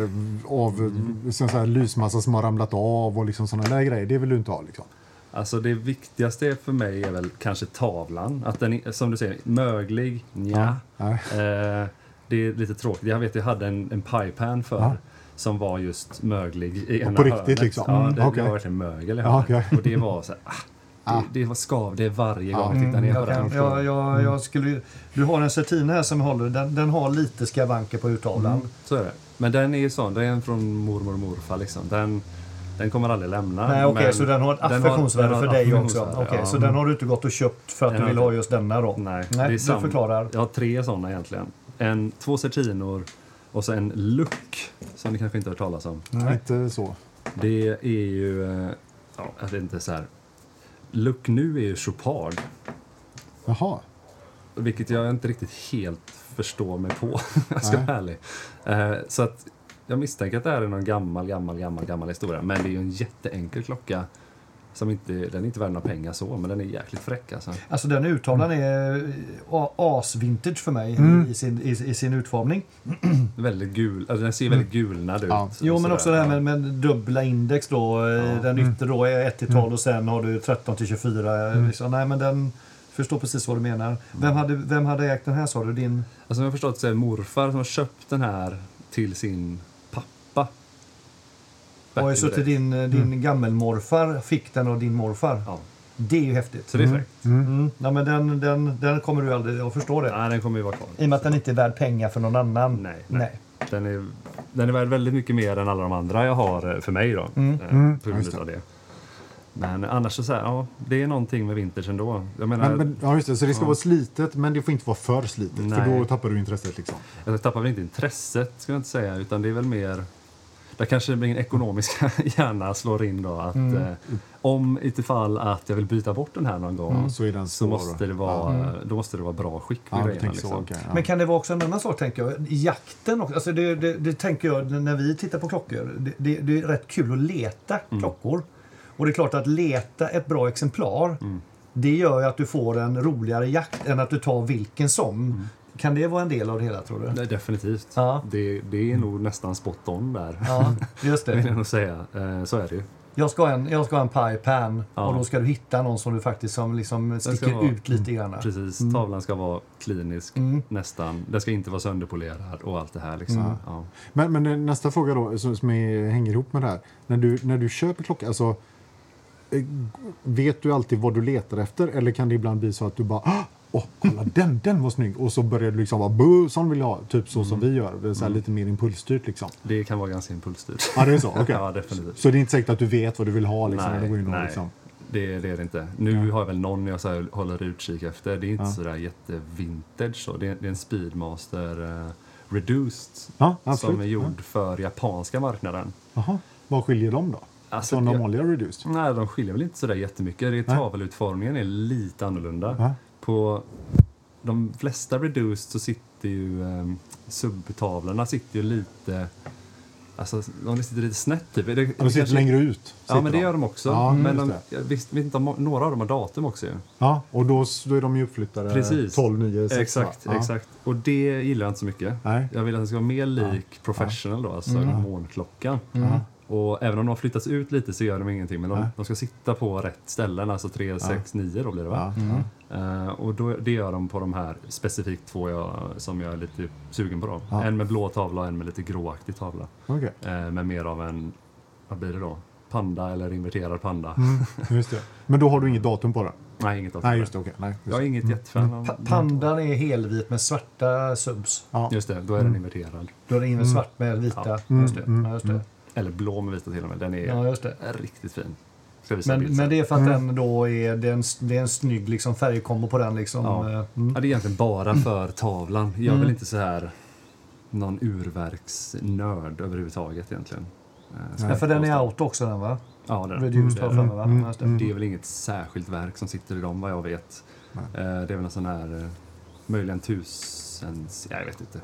B: av,
C: Mm.
B: så här lysmassa som har ramlat av och liksom sådana där grejer. Det vill du inte ha liksom?
C: Alltså det viktigaste för mig är väl kanske tavlan. Att den är, som du säger, möglig, nja.
B: Ja.
C: Eh, det är lite tråkigt. Jag vet, jag hade en, en piepan förr som var just möglig i ena
B: på riktigt
C: hörnet.
B: liksom?
C: Ja,
B: Mm,
C: det,
B: okej.
C: det var verkligen mögel i
B: Ja,
C: hörnet.
B: okej.
C: Och det var så här, ah, det, det var skav, det är varje gång jag
B: Mm,
C: tittar ner på
A: Jag
C: den.
A: kan, jag,
C: Mm.
A: jag, jag skulle, ju- du har en Certina här som jag håller. Den, den har lite
C: Mm.
A: skavanker på urtavlan.
C: Så är det. Men den är ju sån, den är från mormor och morfar liksom. Den, Den kommer aldrig lämna.
A: Nej, okej,
C: men
A: så den har ett
C: den har-
A: affektionsvärde
C: den har
A: för
C: ett
A: dig också. Okej,
C: affektionsvärde, ja. Mm.
A: så den har du inte gått och köpt för att
C: Den
A: du
C: har
A: vill
C: jag
A: ha just denna då?
C: Nej,
A: Nej
C: det är
A: du
C: samma.
A: förklarar.
C: Jag har tre sådana egentligen. En, två sertinor och så en luck som ni kanske inte har hört talas om.
B: Nej. Inte så.
C: Det är ju... eh, Ja, jag vet inte så här. Luck nu är ju Chopard,
B: Jaha.
C: vilket jag inte riktigt helt förstår mig på. *laughs* jag ska
B: Nej.
C: vara ärlig. Eh, Så att jag misstänker att det här är någon gammal, gammal, gammal, gammal historia. Men det är ju en jätteenkel klocka. Som inte, den är inte värd några pengar så, men den är jäkligt fräck alltså.
A: Alltså den urtavlan
C: Mm.
A: är eh, asvintage för mig i, sin, i, i sin utformning.
C: Väldigt gul, alltså den ser väldigt gulnad ut.
B: Ja.
C: och
A: Mm. Jo, men
C: Typ, sådär.
A: också det här med, med dubbla index då. eh, Den yttre då är 1 till 12
C: Mm.
A: och sen har du 13 till 24. Liksom. Nej, men den förstår precis vad du
C: Mm.
A: menar. Vem hade, vem hade ägt den här sa du? Din?
C: Alltså som jag förstått så är det morfar som har köpt den här till sin pappa. Back
A: Oj,
C: in
A: så
C: the
A: till
C: day.
A: din, eh, din gammelmorfar fick den av din morfar.
C: Mm. Ja,
A: Det är ju häftigt.
C: så det är fräckt.
A: Mm. Nej, men den, den, den kommer du aldrig att förstå det.
C: Nej, den kommer ju vara kvar.
A: I och med att den inte är värd pengar för någon annan.
C: Nej, nej. Den är, den är värd väldigt mycket mer än alla de andra jag har eh, för mig då. eh, På grund
B: Mm, just det.
C: av det. Men annars så, så här, ja, det är någonting med vintage ändå. Jag menar,
B: Men, men, ja, just det. Så det ska vara slitet, men det får inte vara för slitet. För
C: Nej.
B: då tappar du intresset. liksom.
C: jag tappar väl inte intresset ska jag inte säga, utan det är väl mer där kanske min ekonomiska *laughs* hjärna slår in då att
B: Mm.
C: eh, om utifall att jag vill byta bort den här någon gång
B: Mm. Så är den
C: så
B: svår.
C: måste det vara, eh, då måste det vara bra skick på
B: Ja, du
C: grejerna.
B: tänker så.
C: Liksom.
B: okej, ja.
A: Men kan det vara också en annan sak, tänker jag? Jakten också. Alltså det, det, det tänker jag när vi tittar på klockor. Det, det, det är rätt kul att leta
C: Mm.
A: klockor. Och det är klart att leta ett bra exemplar
C: Mm.
A: det gör ju att du får en roligare jakt än att du tar vilken som.
C: Mm.
A: Kan det vara en del av det hela, tror du?
C: Nej, definitivt.
A: Ja.
C: Det, det är nog nästan spot on där.
A: Ja, just
C: *laughs* vill jag
A: det.
C: nog säga. Eh, så är det ju.
A: Jag ska ha en, jag ska ha en pie pan
C: Ja.
A: och då ska du hitta någon som du faktiskt som liksom
C: ska
A: sticker
C: vara- mm,
A: ut lite grann.
C: Precis.
B: Mm.
C: Tavlan ska vara klinisk, nästan. Den ska inte vara sönderpolerad och allt det här. Liksom.
B: Mm.
C: Ja.
B: Men, men eh, nästa fråga då, som, som är, hänger ihop med det här. När du, när du köper klocka, alltså, eh, vet du alltid vad du letar efter? Eller kan det ibland bli så att du bara "Ah, Åh,
C: *laughs*
B: kolla den, den var snygg! Och så börjar du liksom vara "Buh, sån vill jag ha, typ så som
C: Mm.
B: vi gör. Det är så här lite mer impulsstyrt liksom.
C: Det kan vara ganska impulsstyrt.
B: Ja,
C: *laughs*
B: det är så? Okej.
C: Ja, definitivt.
B: Så det är inte säkert att du vet vad du vill ha liksom, när du går in och
C: nej.
B: liksom...
C: Det, det är det inte. Nu har jag väl någon jag så här håller utkik efter. Det är inte sådär jättevintage. Så. Det, är, det är en Speedmaster eh, Reduced
B: Ja, absolut.
C: som är gjord för japanska marknaden.
B: Jaha, vad skiljer dem då?
C: Alltså,
B: Från de
C: jag-
B: vanliga reduced?
C: Nej, de skiljer väl inte så där jättemycket. Det är tavelutformningen är lite annorlunda.
B: Ja.
C: På de flesta reduced så sitter ju eh, subtavlorna sitter ju lite Alltså, de sitter lite snett typ. Det, det
B: De sitter
C: kanske-
B: längre ut.
C: Ja, men
B: sitter
C: det
B: de.
C: gör de också.
B: Ja,
C: men
B: just
C: de,
B: det.
C: jag visst, vet inte om, några av dem har datum också ju.
B: Ja, och då, då är de ju uppflyttade
C: Precis.
B: 12, 9, 6.
C: Exakt,
B: va? Ja.
C: exakt. Och det gillar jag inte så mycket.
B: Nej. Mm.
C: Jag vill att den ska vara mer lik professional då, alltså månklockan. Och även om de har flyttats ut lite så gör de ingenting, men de, de ska sitta på rätt ställen, alltså 3, 6, 9 då blir det va?
B: Ja, ja.
C: Eh, och då, det gör de på de här specifikt två jag, som jag är lite sugen på då. En med blå tavla och en med lite gråaktig tavla.
B: Okej,
C: Eh, med mer av en, vad blir det då? Panda eller inverterad panda? Mm.
B: just det. Men då har du inget datum på den?
C: Nej, inget av
B: Mm. Nej,
C: det.
B: just det. Mm. Okej. Nej, just
C: Jag är
B: det.
C: inget jättefan av...
A: Pa- Pandan är helvit med svarta subs.
B: Ja.
C: Just det, då är
B: Mm.
C: den inverterad.
A: Då är det in
C: Mm.
A: med svart med vita. Just det. Ja, just det.
C: Eller blå med vita till och med. Den är
A: Ja, just det.
C: riktigt fin. Ska visa en
A: Men,
C: bild
A: men
C: sen.
A: det är för att
B: Mm.
A: den då är, det är, en, det är en snygg liksom färgkombo på den. Liksom.
C: Ja.
A: Eh,
C: ja, det är egentligen bara för tavlan. Jag är väl inte så här någon urverksnörd överhuvudtaget egentligen. Eh, ska
A: Ja,
C: jag
A: för den är
C: påstå.
A: auto också den va?
C: Ja, det är den.
A: Reduced
B: Mm.
C: Det är
A: har
C: den.
A: för mig va? Ja, just det.
C: Det är väl inget särskilt verk som sitter i dem vad jag vet. Eh, Det är väl en sån här, eh, möjligen tusens, ja, jag vet inte.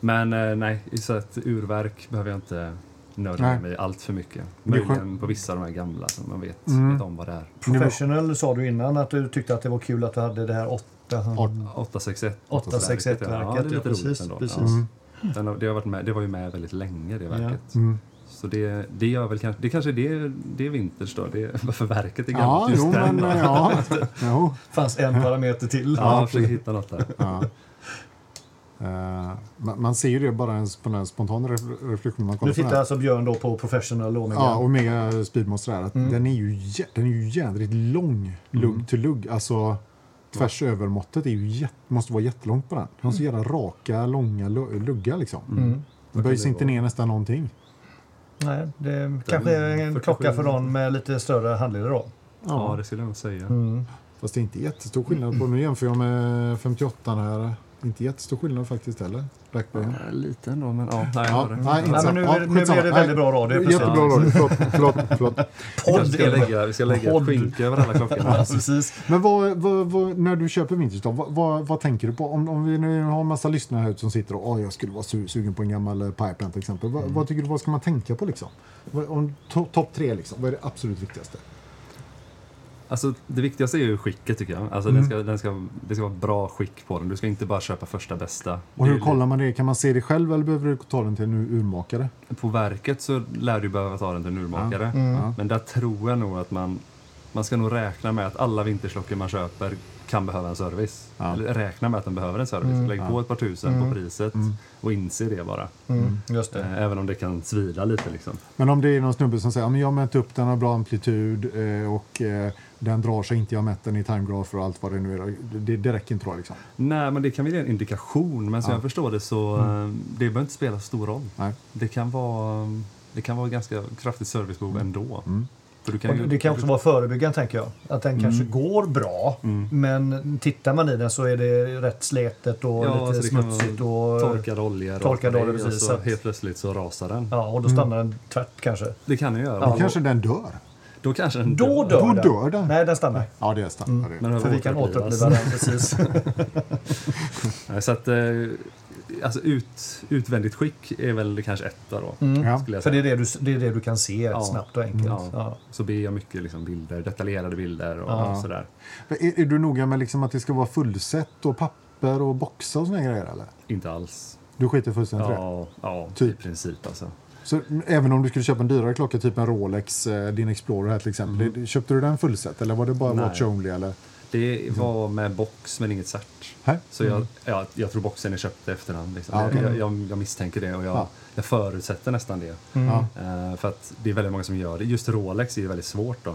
C: Men eh, nej, så att urverk behöver jag inte nörda
B: Nej.
C: ner mig allt för mycket.
B: Det är skönt.
C: Möjligen på vissa av de här gamla som man vet, vet om vad det är.
A: Professional sa du innan att du tyckte att det var kul att du hade det här 800.
B: Art-
C: 861.
A: 861
C: Ja,
A: verket,
C: det är lite
A: ja, precis,
C: roligt ändå.
A: precis.
C: Ja. Den har, det, har varit med, det var ju med väldigt länge, det verket. Så det, det gör väl kanske... Det kanske är det, det är vintage då, det, är- *laughs* varför verket är gammalt
B: Ja,
C: just
B: jo,
C: den
B: men
C: dagen.
B: eh, ja. jo.
A: fanns en parameter till.
C: *laughs* Ja, jag försöker hitta något där.
B: ja. Eh, man, man ser ju det bara ens på den här spontana ref- reflektionen. Man kollar
A: Nu
B: på den
A: tittar
B: här.
A: alltså Björn då på Professional Omega.
B: Ja, Omega Speedmaster är att
C: Mm.
B: den är ju jä- den är ju jädrigt lång lugg till lugg. Alltså tvärs över måttet är ju jätt, måste vara jättelångt på den. De har
C: Mm.
B: så jävla raka, långa lu- luggar liksom. Den böjs inte ner nästan någonting.
A: Nej, det kanske är en
C: 47.
A: klocka för någon med lite större handleder då.
C: Ja, det skulle jag nog säga.
B: Fast det är inte jättestor skillnad på, nu jämför jag med 58 här. Inte jättestor skillnad faktiskt heller. Blackburn.
C: Eh, Lite ändå, men ja. Nej,
B: Ja,
C: ja.
B: nej, inte
A: Nej,
B: sant.
A: men nu,
B: Ja,
A: nu
B: skitsamma.
A: blev det väldigt
B: Nej,
A: bra radio. precis.
B: Jättebra radio. Förlåt, förlåt, förlåt.
C: Vi
A: Podd
C: ska
A: är det.
C: lägga, vi ska lägga ett
A: Podd.
C: skynke över alla klockorna.
A: Precis.
B: Men vad, vad, vad, när du köper vintage då, vad, vad, vad tänker du på? Om, om vi nu har en massa lyssnare här ute som sitter och "Åh, jag skulle vara su- sugen på en gammal eh, pipeline till exempel.
A: Mm.
B: Vad, vad tycker du, vad ska man tänka på liksom? Vad- Om to, topp tre liksom, vad är det absolut viktigaste?
C: Alltså, det viktigaste är ju skicket tycker jag. Alltså, den ska, den ska, det ska vara bra skick på den. Du ska inte bara köpa första bästa.
B: Och
C: Det är
B: hur
C: ju-
B: kollar man det? Kan man se det själv eller behöver du ta den till en ur- urmakare?
C: På verket så lär du behöva ta den till en urmakare.
A: Mm.
B: Ja.
C: Men där tror jag nog att man, man ska nog räkna med att alla vinterklockor man köper kan behöva en service.
B: Ja.
C: Eller räkna med att den behöver en service. Lägg på ett par tusen på priset
B: Mm.
C: och inse det bara.
A: Mm, just det.
C: Eh, Även om det kan svida lite liksom.
B: Men om det är någon snubbe som säger att jag har mätt upp den, har bra amplitud eh, och eh, den drar sig inte, jag har mätt den i timegrafer och allt vad det nu är. Det, det räcker inte då liksom.
C: Nej, men det kan väl ge en indikation. Men som jag förstår det så eh, det behöver inte spela stor roll.
B: Mm. Nej.
C: Det kan vara, det kan vara ganska kraftigt servicebehov
B: Mm.
C: ändå. För du kan
A: Och
C: ju-
A: det kan också vara förebyggande tänker jag. Att den kanske går bra men tittar man i den så är det rätt slätet och
C: Ja,
A: lite
C: alltså det kan vara
A: smutsigt. Och,
C: Torkad olja.
A: Torkad
C: rakt
A: olja,
C: ner,
A: precis,
C: och
A: så
C: Så
A: att-
C: helt plötsligt så rasar den.
A: ja, och då stannar den tvärt kanske.
C: Det kan den göra.
B: Då
C: Och-
B: kanske den dör.
C: Då kanske den
A: Då dör,
B: Då
A: den.
B: dör den.
A: Nej, den stannar.
B: Ja, det är starkt. Ja, det är det.
C: Mm. Men
A: För vi kan
C: återupplivas.
A: återuppliva den precis.
C: Nej, Så att, eh, alltså ut, utvändigt skick är väl kanske etta då.
A: Mm.
B: Ja.
C: Skulle jag
A: *laughs* För det
C: säga.
A: är det du, det är det du kan se snabbt och enkelt.
C: Ja.
A: Ja.
C: Så ber jag mycket liksom bilder, detaljerade bilder och sådär.
B: Men Är, är du noga med liksom att det ska vara fullsätt och papper och boxar och såna grejer? Eller?
C: Inte alls.
B: Du skiter fullständigt i det?
C: Ja, ja
B: Typ.
C: i princip alltså.
B: Så m- även om du skulle köpa en dyrare klocka, typ en Rolex, eh, din Explorer här till exempel. det- Köpte du den fullsätt eller var det bara
C: Mm. Nej.
B: watch only? Eller?
C: Det var med box men inget cert.
B: Nej.
C: Så jag,
A: Mm.
C: ja, jag tror boxen är köpt i efterhand. Liksom.
B: Ja, okej.
C: jag, jag, jag misstänker det och jag,
B: Ja.
C: jag förutsätter nästan det.
B: Ja.
C: Eh, för att det är väldigt många som gör det. Just Rolex är ju väldigt svårt då.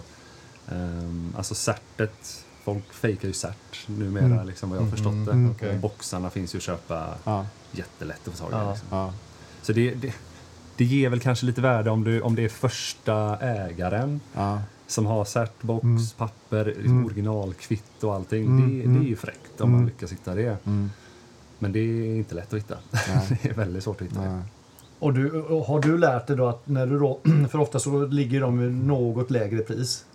C: Ehm, alltså certet, folk fejkar ju cert numera liksom vad jag har förstått det.
A: okej.
C: Och boxarna finns ju att köpa
B: Ja.
C: jättelätt att få tag i.
A: Ja.
C: Liksom.
B: Ja.
C: Så det, det, det ger väl kanske lite värde om, du, om det är första ägaren
B: Ja.
C: som har certbox, papper, liksom originalkvitt och allting. Det, det är ju fräckt om man lyckas hitta det.
B: mm,
C: Men det är inte lätt att hitta. *laughs* det är väldigt svårt att hitta.
B: Nej.
A: Och, du, och har du lärt dig då att när du då, *clears throat* för ofta så ligger de i något lägre pris?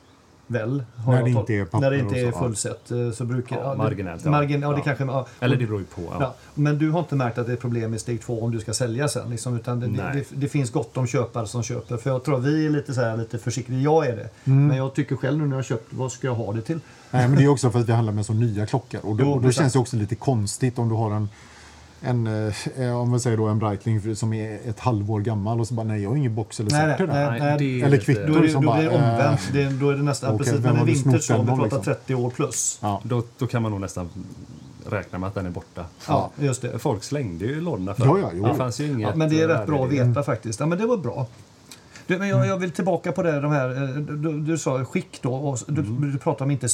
A: Väl? Har
B: När
A: jag
B: det
A: tol-
B: inte är papper
A: När det inte
B: och
A: är
B: så,
A: fullsätt eh, så brukar...
C: Ja,
A: det-
C: marginellt, ja.
A: Margin, ja, det
C: Ja.
A: kanske... Ja.
C: Eller det beror ju på. Ja.
A: Ja, men du har inte märkt att det är problem med steg två om du ska sälja sen? Liksom, utan det, det,
C: Nej.
A: det, det finns gott om köpare som köper. För jag tror att vi är lite, så här, lite försiktiga. Jag är det.
B: Mm.
A: Men jag tycker själv nu när jag har köpt, vad ska jag ha det till?
B: Nej, men det är också för att vi handlar med så nya klockor. Och då,
A: Jo,
B: då
A: exakt.
B: känns det också lite konstigt om du har en, en, eh, om vi säger då en Breitling för- som är ett halvår gammal och så bara nej, jag har ingen box eller
A: Nej,
B: cert till
A: nej,
B: den.
A: nej. det är
C: ju
B: Eller
C: lite-
B: kvitto.
A: Då är det,
B: som
A: då
B: bara,
A: blir det
B: eh,
A: omvänt. Det, är- då är det nästan
B: okej,
A: precis.
B: vem
A: Men en
B: har du
A: vinter
B: snott
A: så,
B: den
A: vi pratar
B: av, liksom?
A: 30 år plus.
B: Ja.
C: Då, då kan man nog nästan räkna med att den är borta.
A: Ja, just det.
C: Folk slängde ju lådorna förr.
B: Ja, ja, jo.
C: det fanns ju inget eh,
A: Ja, men det är
B: eh,
A: rätt
C: värde
A: bra
C: i
A: att
C: det.
A: veta faktiskt. Ja, men det var bra. Du, men jag, jag vill tillbaka på det, de här, eh, du, du sa skick då. Och s- du,
B: Mm.
A: du pratade om inte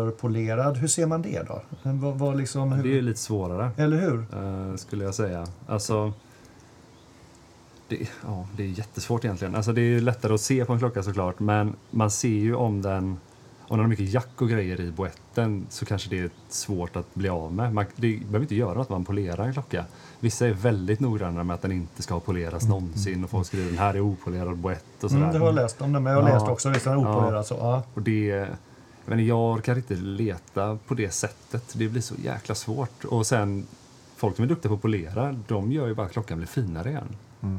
A: sönderpolerad. Hur ser man det då? Vad, vad liksom,
C: Det är ju
A: hur,
C: lite svårare.
A: eller hur? Mm,
C: eh, skulle jag säga. Alltså, det, ja, det är jättesvårt egentligen. Alltså, det är ju lättare att se på en klocka såklart, men man ser ju om den om den har mycket jack och grejer i boetten så kanske det är svårt att bli av med. Man, det behöver inte göra något man polerar en klocka. Vissa är väldigt noggranna med att den inte ska poleras någonsin och folk skriver den här är opolerad boett och sådär.
A: Mm, det har jag läst om det, men jag har
C: Ja.
A: läst också visst den är opolerad.
C: Ja.
A: Så, ja.
C: Och det, jag, menar, jag orkar inte leta på det sättet. Det blir så jäkla svårt. Och sen, folk som är duktiga på att polera, de gör ju bara att klockan blir finare igen.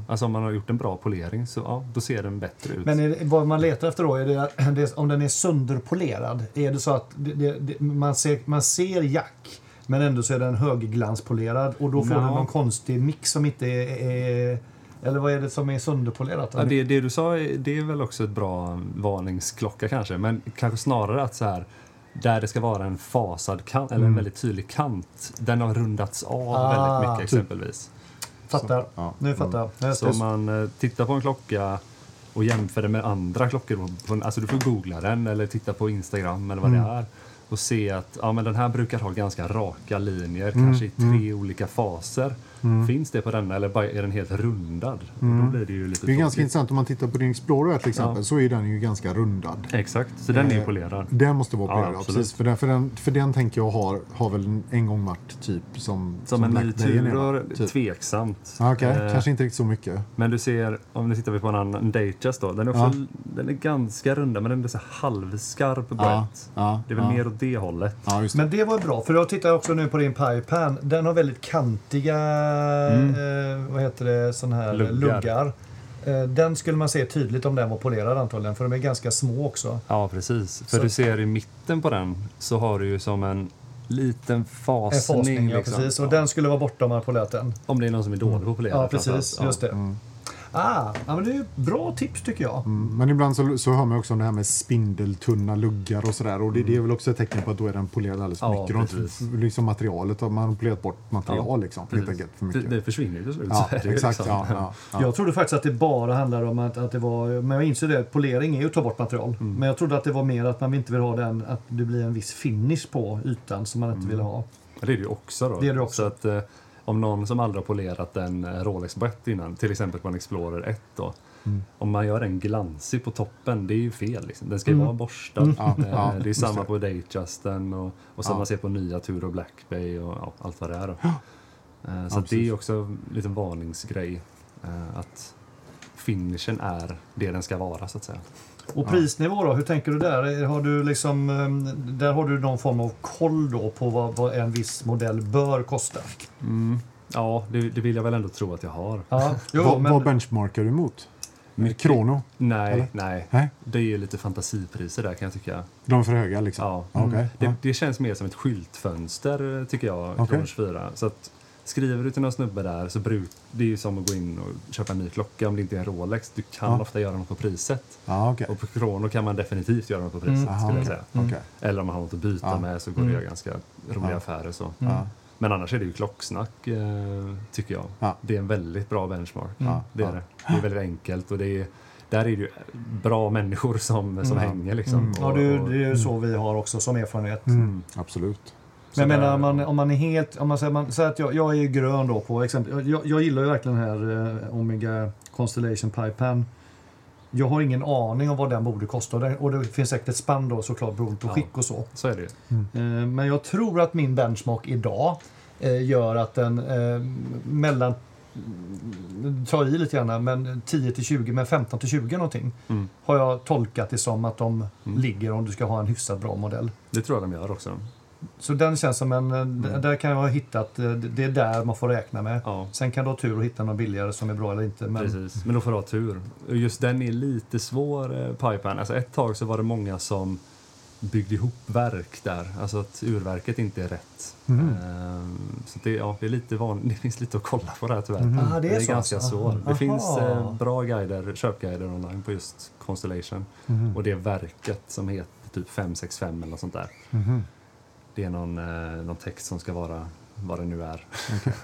C: Alltså om man har gjort en bra polering så ja, då ser den bättre ut.
A: Mm. Men är det, vad man letar efter då, är det, att- det, är- om den är sönderpolerad, är det så att det, det, det, man, ser, man ser jack men ändå så är den högglanspolerad och då får
C: Ja.
A: den någon konstig mix som inte är, är... Eller vad är det som är sönderpolerat?
C: ja, det, det du sa, är- det är väl också ett bra varningsklocka kanske. Men kanske snarare att så här, där det ska vara en fasad kant, eller en väldigt tydlig kant, den har rundats av
A: Mm. Ah,
C: väldigt mycket
A: typ.
C: exempelvis.
A: fattar.
B: ja.
A: Nu fattar jag. jag.
C: Mm. Så om man eh, tittar på en klocka
B: Mm.
C: och jämför den med andra klockor, då, på en- alltså du får googla den eller titta på Instagram eller vad det är. och se att ja, men den här brukar ha ganska raka linjer,
B: Mm,
C: kanske i tre olika faser. Finns det på denna eller bara är den helt rundad? Och då blir det ju lite
B: Mm. Det är ganska
C: tråkigt.
B: intressant om man tittar på din Explorer till exempel
C: Ja.
B: så är den ju ganska rundad.
C: Exakt, så den är ju
B: Eh,
C: polerad.
B: Den måste vara
C: Ja,
B: opererad,
C: absolut.
B: precis. För den, för, den, för den tänker jag har, har väl en- en gång varit typ som
C: Som en
B: Black
C: ny
B: Dayan är, va?
C: Tudor,
A: typ.
C: tveksamt.
B: Ja, Ah, Okej,
C: Eh,
B: kanske inte riktigt så mycket.
C: Men du ser, om nu tittar vi på en annan, Datejust då, den är, också, den är ganska runda men den är så här halvskarp brett.
B: Ja, ja,
C: det är väl
B: ja.
C: mer åt det hållet.
B: Ja, just det.
A: Men det var bra, för jag tittar också nu på din Pipan. Den har väldigt kantiga eh, vad heter det, sån här
C: Mm. Luggar.
A: luggar. Eh, den skulle man se tydligt om den var polerad antagligen, för de är ganska små också.
C: Ja, precis. För
A: Så-
C: du ser i mitten på den så har du ju som en liten fasning.
A: En fasning, ja,
C: liksom.
A: precis. Och
C: Ja.
A: den skulle vara borta om man hade polerat den.
C: Om det är någon som är dålig på att polera.
A: Ja,
C: framförallt.
A: precis.
C: Ja. Mm.
A: Just det. Ah, ja, men det är ju ett bra tips tycker jag.
B: Mm, Men ibland så, så hör man också om det här med spindeltunna luggar och sådär. Och det, det är väl också ett tecken på att då är den polerad alldeles för
C: Mm. Ja,
B: mycket. De-
C: precis.
B: liksom materialet, man har polerat bort material
C: Ja,
B: liksom.
C: precis.
B: Helt enkelt för
C: Det, det
B: mycket.
C: försvinner ju till slut.
B: Ja,
C: så är *laughs* det ju
B: exakt.
C: liksom.
B: Ja, ja, ja.
A: Jag trodde faktiskt att det bara handlade om att, att det var... Men jag inser det, att polering är ju att ta bort material.
C: Mm.
A: Men jag trodde att det var mer att man inte vill ha den, att det blir en viss finish på ytan som man
C: Mm.
A: inte vill ha.
C: Ja, Det är det ju också då.
A: Det är det också.
C: Så att, eh, om någon som aldrig har polerat en eh, Rolex-brett innan, till exempel på en Explorer 1 då. Om man gör den glansig på toppen, det är ju fel. Liksom. Den ska ju vara borstad.
B: Ja,
C: Eh,
B: ja,
C: det är
B: just
C: samma
B: det.
C: på Datjusten och, och som
B: Ja.
C: man ser på nya Tudor Black Bay och ja, allt vad det är. Då. Eh, Så att det är ju också en liten varningsgrej. eh, Att finishen är det den ska vara så att säga.
A: Och prisnivå då, hur tänker du där? Har du liksom, ehm, där har du någon form av koll då på vad, vad en viss modell bör kosta?
C: Ja, det, det vill jag väl ändå tro att jag har.
A: Ja, jo,
B: *laughs* Vad, vad
A: men,
B: benchmarkar du mot? Krono?
C: Nej,
B: Eller?
C: nej.
B: Nej,
C: Det är ju lite fantasipriser där kan jag tycka.
B: de är för höga liksom?
C: Ja. Mm,
B: Okej.
C: Det,
B: ja.
C: det känns mer som ett skyltfönster eh, tycker jag,
B: Okej.
C: Kronors 4. Så att skriver du till någon snubbe där så bruk, det är ju som att gå in och köpa en ny klocka om det inte är en Rolex. Du kan
B: Ja.
C: ofta göra något på priset.
B: Ja, okej.
C: Och på Kronor kan man definitivt göra något på priset
B: Mm. Aha,
C: skulle jag
B: okej.
C: säga.
B: Okej.
C: Eller om man har något att byta
B: Ja. Mm.
C: med så går det att göra ganska roliga affärer. Så.
A: Mm.
B: Ja.
C: Men annars är det ju klocksnack, eh, tycker jag.
B: Ja.
C: Det är en väldigt bra benchmark.
B: Ja,
C: Mm, Det, är
B: ja.
C: det. det är väldigt enkelt och det är, där är det ju bra människor som,
B: Mm.
C: som hänger. Liksom.
A: ja,
C: Och-
A: det, är ju-
C: och-
A: det är ju så vi har också som erfarenhet.
B: Mm, absolut.
A: Men jag
C: Så
A: menar,
C: där-
A: om man, om man är helt... Om man säger, man, säger att jag, jag är ju grön då på exempel. Jag, jag gillar ju verkligen den här eh, Omega Constellation Pipan. Jag har ingen aning om vad den borde kosta. Och det- Och det finns säkert ett spann då såklart beroende på
C: Ja.
A: skick och så.
C: Så är det ju.
A: Eh, Men jag tror att min benchmark idag eh, gör att den eh, mellan mm, ta i lite gärna, men 10 till 20, men 15 till 20 någonting.
C: Mm.
A: Har jag tolkat det som att de ligger om du ska ha en hyfsat bra modell.
C: Det tror jag de gör också.
A: Så den känns som en... eh, d- Där kan jag ha hittat... eh, d- Det är där man får räkna med.
C: Mm. Ja,
A: Sen kan du ha tur och hitta någon billigare som är bra eller inte. Men
C: precis. Men då får du ha tur. Och Just den är lite svår, eh, pipan. Alltså ett tag så var det många som byggde ihop verk där. Alltså att urverket inte är rätt. Ehm, Så det, ja, det är lite van... *laughs* det finns lite att kolla på där tyvärr.
A: Ah, det är så
C: ganska
A: alltså.
C: svårt. Det
A: Aha.
C: finns eh, bra guider, köpguider online på just Constellation.
B: Mm-hmm, Mm.
C: Och det är verket som heter typ 565 eller något sånt där.
B: mm-hmm.
C: Det är någon, eh, någon text som ska vara vad det nu är.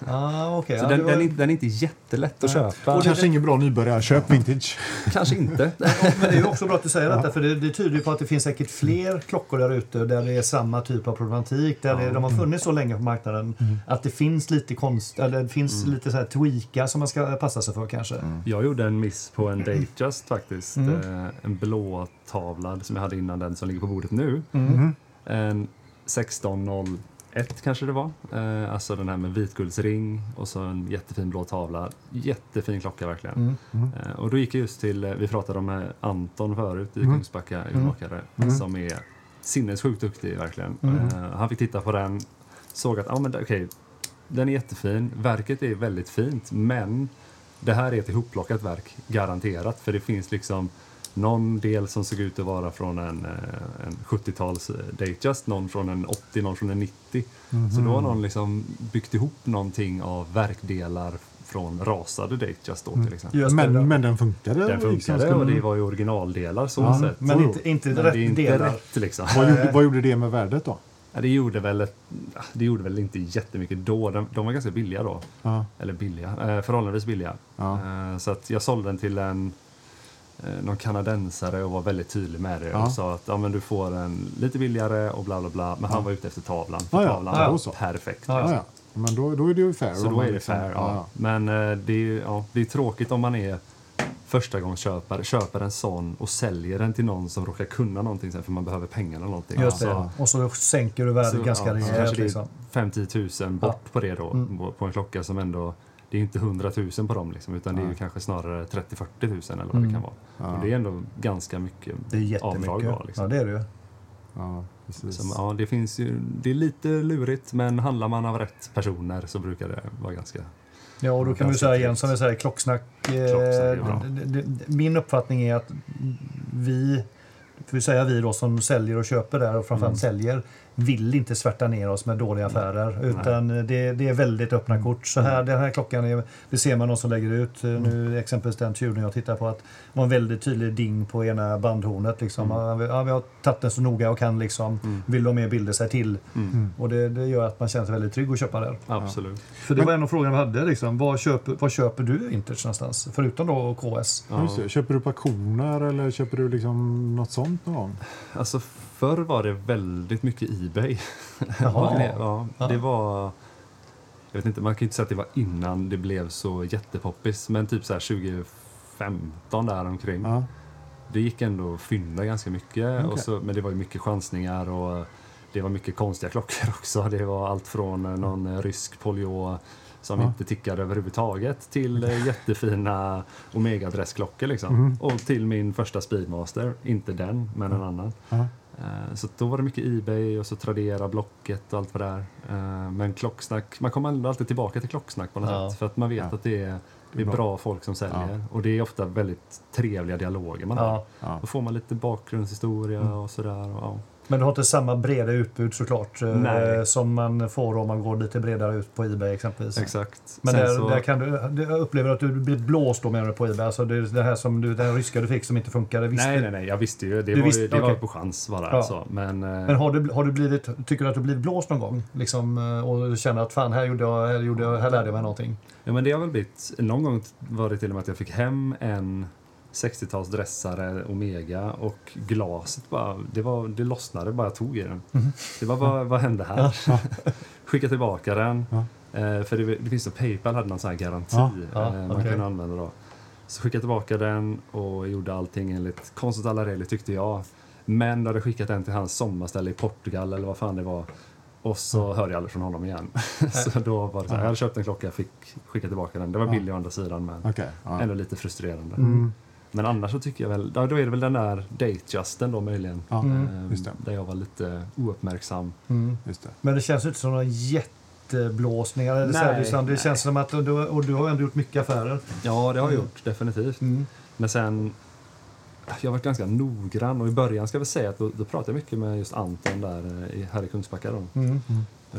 A: ah, okej.
C: Så
A: ja,
C: den,
A: det var-
C: den, är, inte- den är inte jättelätt att köpa.
A: Och det-
B: Kanske ingen bra nybörjarköp vintage.
C: Kanske inte.
A: Men det är ju också bra att du säger detta för det, det tyder ju på att det finns säkert fler klockor där ute där det är samma typ av problematik. Där det, de
C: Mm.
A: har funnits så länge på marknaden att det finns lite konst, eller det finns
C: Mm.
A: lite så här tweakar som man ska passa sig för kanske.
C: Jag gjorde en miss på en Datejust faktiskt. Eh, En blå tavlad som jag hade innan den som ligger på bordet nu.
A: Mm.
C: En 1601 kanske det var. Eh, Alltså den här med vitguldsring och så en jättefin blå tavla. Jättefin klocka verkligen. Eh, Och då gick jag just till, eh, vi pratade om eh, Anton förut i Kungsbacka urmakare som är sinnessjukt duktig verkligen. Eh, Han fick titta på den, såg att ah, men, det- okej, den är jättefin, verket är väldigt fint men det här är ett ihopplockat verk, garanterat. För det finns liksom någon del som såg ut att vara från en, eh, en 70-tals eh, Datejust, någon från en 80, någon från en 90. Så då har någon liksom byggt ihop någonting av verkdelar från rasade Datejust då till exempel.
A: Just det, där.
B: Men, men den funkade.
C: Den
B: liksom,
C: funkade
B: skulle
C: och
B: man-
C: det var ju originaldelar så
B: Ja,
C: sett.
A: men inte, inte
C: Men
A: rätt
C: det är inte
A: delar.
C: rätt liksom.
B: vad, gjorde, vad gjorde det med värdet då?
C: Ja, det, gjorde väl ett, det gjorde väl inte jättemycket då. De, de var ganska billiga då.
B: Ja.
C: Eller billiga, eh, förhållandevis billiga.
B: Ja.
C: Eh, så att jag sålde den till en eh, någon kanadensare och var väldigt tydlig med det
B: Ja.
C: och sa att ja, men du får en lite billigare och bla bla bla. Men han var ute efter tavlan. För
B: Ja, ja.
C: tavlan
B: Ja, ja.
C: var perfekt.
A: Ja,
B: Ja, ja. Men då, då är det ju fair.
C: Så
B: om
C: då
B: man
C: är det
B: liksom-
C: fair. Ja. Men eh, det, är, ju- ja, det är tråkigt om man är förstagångsköpare, köper en sån och säljer den till någon som råkar kunna någonting sen för man behöver pengar eller någonting.
A: Just
C: Så-
A: det. Och så sänker du värdet
C: så,
A: ganska
C: ja, så
A: rejält.
C: kanske det är
A: Liksom. Mm.
C: 5-10 000 bort på det då, på- på en klocka som ändå det är inte 100 000 på dem, liksom, utan det är ju kanske snarare 30-40 000 eller vad det kan vara. Och det är ändå ganska mycket
A: Mm. Det är
C: avdrag.
A: jättemycket.
C: Då, liksom.
A: Ja, det är det ju.
B: Ja, precis.
C: Som, ja, det, finns ju, det är lite lurigt, men handlar man av rätt personer så brukar det vara ganska...
A: Ja, och då kan vi
C: ganska
A: säga igen,
C: trist.
A: som vi säger, klocksnack. eh,
C: är bra.
A: d- d- d- Min uppfattning är att vi, för vi säger vi då som säljer och köper där och framförallt
C: Mm.
A: säljer, vill inte svärta ner oss med dåliga affärer. Utan det, det är väldigt
C: Mm.
A: öppna kort. Så här, den här klockan, är, det ser man någon som lägger ut. eh,
C: Mm.
A: Nu exempelvis den tjuren jag tittar på, att det var en väldigt tydlig ding på ena bandhornet. Liksom.
C: Mm.
A: Ja, vi har tagit den så noga jag kan. Liksom. Vill de ha mer bilder, sig till.
C: Mm.
A: Och det, det gör att man känner sig väldigt trygg att köpa där.
C: Absolut.
A: För det var en av frågorna vi hade. Liksom. Vad, köper, vad köper du vintage någonstans? Förutom då KS.
B: Ja, just det. Köper du på auktioner eller köper du liksom något sånt någon gång?
C: Alltså förr var det väldigt mycket Ebay. *laughs*
A: Jaha.
C: ja, det var... Jag vet inte, man kan ju inte säga att det var innan det blev så jättepoppis, men typ så här 2015 där omkring.
B: Ja.
C: Det gick ändå att fynda ganska mycket,
B: Okej.
C: och så, men det var ju mycket chansningar och det var mycket konstiga klockor *laughs* också. Det var allt från eh, någon eh, rysk polio som inte tickade överhuvudtaget
B: *laughs*
C: till eh, jättefina Omega-dressklockor liksom. Och till min första Speedmaster, inte den, men en annan.
B: Mm. Ja.
C: Eh, Så då var det mycket Ebay och så Tradera, Blocket och allt vad det är. Eh, Men klocksnack, man kommer ändå alltid tillbaka till klocksnack på något
A: Ja.
C: sätt. För att man vet
B: Ja.
C: att det är, det är
B: bra.
C: bra. folk som säljer. Och det är ofta väldigt trevliga dialoger man
A: Ja.
C: har.
B: Ja.
C: Då får man lite bakgrundshistoria och sådär. Och, ja.
A: Men du har inte samma breda utbud såklart eh,
C: Nej.
A: som man får om man går lite bredare ut på Ebay exempelvis.
C: Exakt.
A: Men
C: Sen
A: där,
C: så-
A: där kan du, du- jag upplever att du blir blåst då menar du på Ebay. Alltså det, det här som du, den ryska du fick som inte funkade. Visst,
C: nej, nej, nej, jag visste ju. Det,
A: Du
C: var,
A: visste-
C: ju- det var
A: okej.
C: på chans bara.
A: Ja.
C: Så. Men, eh,
A: Men har du, har du blivit, tycker du att du blivit blåst någon gång? Liksom, eh, och du känner att fan, här, gjorde jag, här, gjorde jag, här lärde jag mig någonting.
C: Ja, men det har väl blivit... Någon gång var det till och med att jag fick hem en 60-talsdressare, Omega, och glaset bara... Det, var, det lossnade bara jag tog i den. Det var vad, vad hände här? *laughs* Skicka tillbaka den.
B: Ja.
C: Eh, för det, det finns så Paypal hade någon sån här garanti
B: Ja.
A: Ja,
C: eh, man
A: okej.
C: kunde använda då. Så skickade tillbaka den och gjorde allting enligt konstens alla regler tyckte jag. Men då hade jag skickat den till hans sommarställe i Portugal eller vad fan det var. Och så
B: Mm.
C: hörde jag aldrig från honom igen. *laughs* så då var det så här, jag hade köpt en klocka, jag fick skicka tillbaka den. Det var billig å andra sidan men
B: Okej. Ja. Mm.
C: ändå lite frustrerande. Men annars så tycker jag väl, ja, då är det väl den där datejusten då möjligen.
B: Ja,
C: Ehm,
B: just det.
C: Där jag var lite ouppmärksam.
A: Mm.
B: Just det.
A: Men det känns ju inte som någon jätteblåsning. Eller så här,
C: Nej,
A: utan det
C: nej.
A: känns som att du, och du har ändå gjort mycket affärer.
C: Ja,
B: Mm.
C: det har jag gjort, definitivt. Men sen, jag har varit ganska noggrann och i början ska vi säga att då, då pratade jag mycket med just Anton där eh, i- här i Kungsbacka då.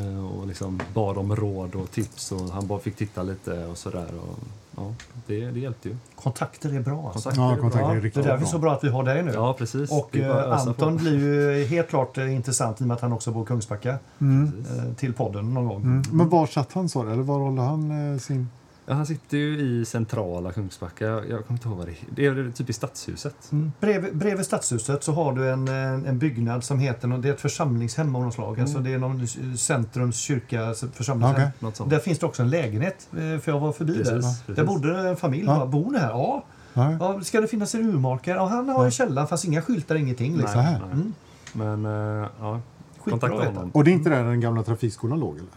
C: Eh, Och liksom bad om råd och tips och han bara fick titta lite och sådär. och, Ja, det, det hjälpte ju.
A: Kontakter är bra. Alltså.
C: Kontakter
B: Ja,
C: är bra.
B: kontakter är
C: Ja,
A: Det är
B: riktigt
A: därför
B: bra.
A: så bra att vi har dig nu.
C: Ja, precis.
A: Och
C: Det är bara att
A: eh,
C: ösa på.
A: Anton blir ju helt klart eh, intressant i och med att han också bor i Kungsbacka. Eh, till podden någon gång.
B: Mm. Men var satt han sa du? Eller var håller han eh, sin...
C: Ja, han sitter ju i centrala Kungsbacka. Jag kommer inte ihåg vad det är. Det är typ i stadshuset.
A: Mm. Bredvid, bredvid stadshuset så har du en, en, en byggnad som heter, nå- det är ett församlingshem av något slag.
C: Mm.
A: Alltså det är någon eh, centrums kyrka församlingshem.
B: Okej.
C: Något sånt.
A: Där finns det också en lägenhet, eh, för jag var förbi
C: Precis,
A: där.
C: precis.
A: Där bodde en familj.
B: Ja.
A: Ja. Bor ni här? Ja.
B: Ja.
A: ja. Ska det finnas en urmakare? Ja, han har en källa, fast inga skyltar, ingenting. Liksom.
B: så här.
C: nej. Men eh, ja, kontakta
A: att veta.
C: honom.
B: Och det är inte där den gamla trafikskolan låg eller?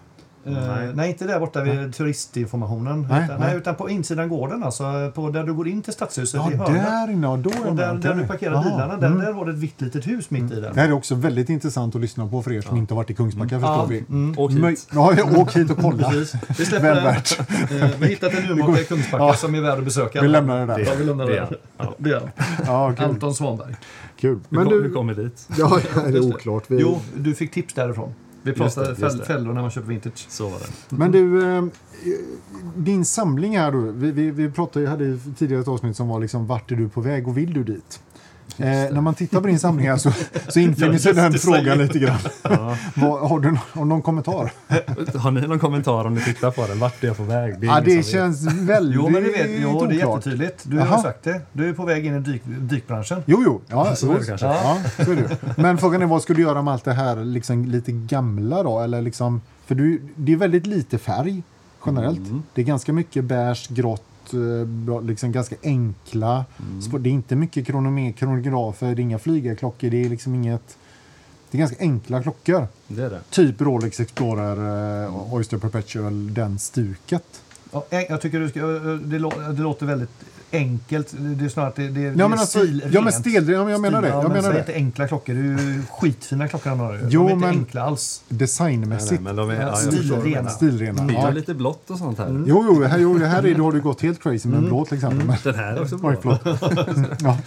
A: Eh,
C: Nej.
A: nej. inte där borta vid turistinformationen.
B: Nej,
A: utan,
B: nej.
A: nej. utan på insidan gården, alltså, på där du går in till stadshuset
B: Ja,
A: i hörnet.
B: där inne. ja, Då är
A: Och
B: man-
A: där, där du parkerar
B: Aha. Mm.
A: bilarna, där, där var det ett vitt litet hus mitt i den.
B: Det här är också väldigt intressant att lyssna på för er som inte har varit i Kungsbacka förstår
A: Ja,
B: vi.
C: Åk hit.
B: Möj- Ja, åk hit och kolla.
A: Precis. Vi släpper
B: *laughs* Väl
A: den.
B: värt.
A: Eh, vi har hittat en urmakare i Kungsbacka
B: Ja.
A: som är värd att besöka.
B: Vi lämnar det där.
A: Ja, vi lämnar
C: Det
A: det.
C: är han. Ja.
A: Det är han.
B: Ja, kul.
A: Anton Svanberg.
B: kul.
C: Hur,
B: Men
C: kom, hur
B: du...
C: kommer vi dit?
B: Ja, det är oklart. Vi...
A: Jo, du fick tips därifrån. Vi pratade
C: det, just
A: fäll-
C: det.
A: fällor när man köper vintage.
C: Så var det.
B: Men du, eh, din samling här då. Vi, vi, vi pratade, jag hade ju tidigare ett avsnitt som var liksom vart är du på väg och vill du dit? Eh, när man tittar på din samling här så, så infinner sig den frågan lite grann. Vad, har du nå- har du någon kommentar?
C: Har ni någon kommentar om ni tittar på den? Vart är jag på väg? är
B: Ja,
C: ingen
B: det
C: som vet.
B: känns väldigt
A: Jo, men du vet, jo, det är
B: oklart.
A: jättetydligt. Du
B: Jaha.
A: har sagt det. Du är på väg in i dyk, dykbranschen.
B: Jo, jo. Ja,
C: Så är det
B: jo.
C: kanske.
B: Ja, så är det. ju. Men frågan är vad skulle du göra med allt det här liksom, lite gamla då? Eller liksom, för du, det är väldigt lite färg generellt. Det är ganska mycket beige, grått, eh, bra- liksom ganska enkla. spår. Det är inte mycket kronome- kronografer, det är inga flygarklockor, det är liksom inget... Det är ganska enkla klockor.
C: Det är det.
B: Typ Rolex Explorer, eh, Oyster Perpetual, den stuket.
A: Ja, eh, Jag tycker du ska, eh, det, lå, det låter väldigt enkelt. Det är snarare att det, det, det
B: Ja
A: är
B: men, alltså,
A: stilrent.
B: ja, men stil, ja, men jag menar det.
A: Ja,
B: Jag
A: men
B: menar
A: säg
B: det.
A: inte enkla klockor. Det är ju skitfina klockor han har. ju.
B: Jo,
A: de är inte
B: men-
A: enkla alls.
C: Nej,
B: Designmässigt.
C: nej, men de är, ja, jag
A: Stil-
C: förstår.
A: Stilrena.
B: Stilrena.
C: Det är
B: Ja. Mm.
C: ju lite blått och sånt här.
B: Jo, jo, här, jo, det här är, då har du gått helt crazy
C: Mm.
B: med en blå till exempel. Men,
C: Den här är också
B: *laughs* oj,
C: blå.
B: förlåt.
C: *laughs*
B: ja.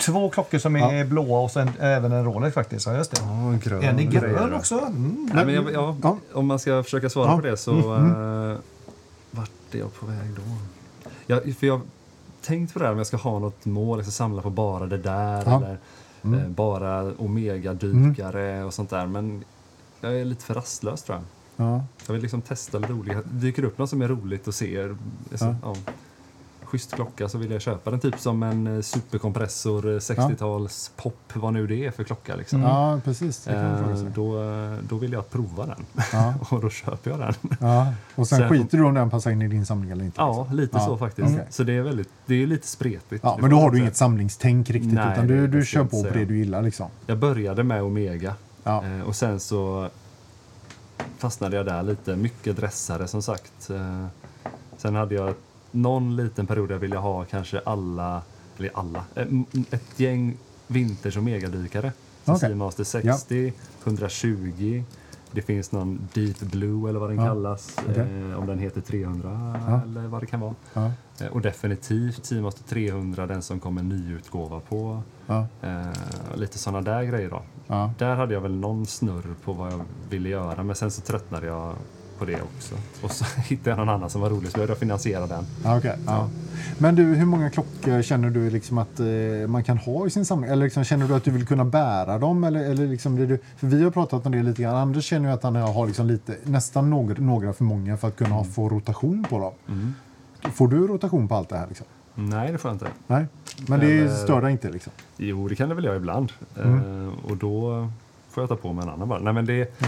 A: Två klockor som är blåa och sen även en Rolex faktiskt. Ja, just det.
C: Ja, en grön.
A: en är grön
C: grejer.
A: också. Mm.
C: Nej, men jag, ja,
B: Ja.
C: Om man ska försöka svara
B: Ja. Mm,
C: på det så... eh, vart är jag på väg då? Jag, för jag har tänkt på det här om jag ska ha något mål, jag ska samla på bara det där
B: Ja. Mm.
C: eller eh, bara omegadykare och sånt där. Men jag är lite för rastlös tror jag.
B: Ja.
C: Jag vill liksom testa lite olika. Dyker upp något som är roligt och ser. Ja. Ja, schysst klocka så vill jag köpa den. Typ som en eh, superkompressor, eh, 60-tals pop, vad nu det är för klocka liksom.
B: ja, precis. Det kan man fråga
C: Eh,
B: sig.
C: då, eh, då vill jag prova den *laughs*
B: Ja.
C: och då köper jag den.
B: Ja. Och sen
C: Sen-
B: skiter du om den passar in i din samling eller inte.
C: Ja, lite
B: Ja,
C: så faktiskt.
B: okej.
C: Så det är, väldigt, det är lite spretigt.
B: Ja,
C: Det
B: men då
C: får
B: har
C: man
B: du
C: säga.
B: inget samlingstänk riktigt
C: Nej,
B: utan du,
C: det-
B: du
C: det ska
B: kör
C: jag
B: på
C: inte
B: på det
C: säga.
B: du gillar liksom.
C: Jag började med Omega
B: Ja.
C: eh, och sen så fastnade jag där lite. Mycket dressare som sagt. Eh, Sen hade jag någon liten period jag ville ha kanske alla, eller alla, eh, m- ett gäng vinters och megadykare. Som
B: Okej.
C: Seamaster 60, 120, det finns någon Deep Blue eller vad den
B: Ja.
C: kallas,
B: Okej.
C: eh, om den heter 300
B: Ja.
C: eller vad det kan vara.
B: Ja.
C: Eh, Och definitivt Seamaster 300, den som kom en ny utgåva på.
B: Ja.
C: Eh, lite sådana där grejer då.
B: Ja.
C: Där hade jag väl någon snurr på vad jag ville göra men sen så tröttnade jag på det också. Och så *laughs* hittade jag någon annan som var rolig så började jag finansiera den.
B: Ja, okej. ja. Men du, hur många klockor känner du liksom att eh, man kan ha i sin samling? Eller liksom, känner du att du vill kunna bära dem? Eller, eller liksom, blir du, för vi har pratat om det lite grann. Anders känner ju att han har liksom lite, nästan några, några för många för att kunna
A: Mm.
B: ha- få rotation på dem. Får du rotation på allt det här? Liksom?
C: Nej, det får jag inte.
B: Nej, men det
C: Eller-
B: stör dig
A: *laughs*
B: inte liksom?
C: Jo, det kan det väl göra ibland. Eh, och då får jag ta på mig en annan bara. Nej, men det,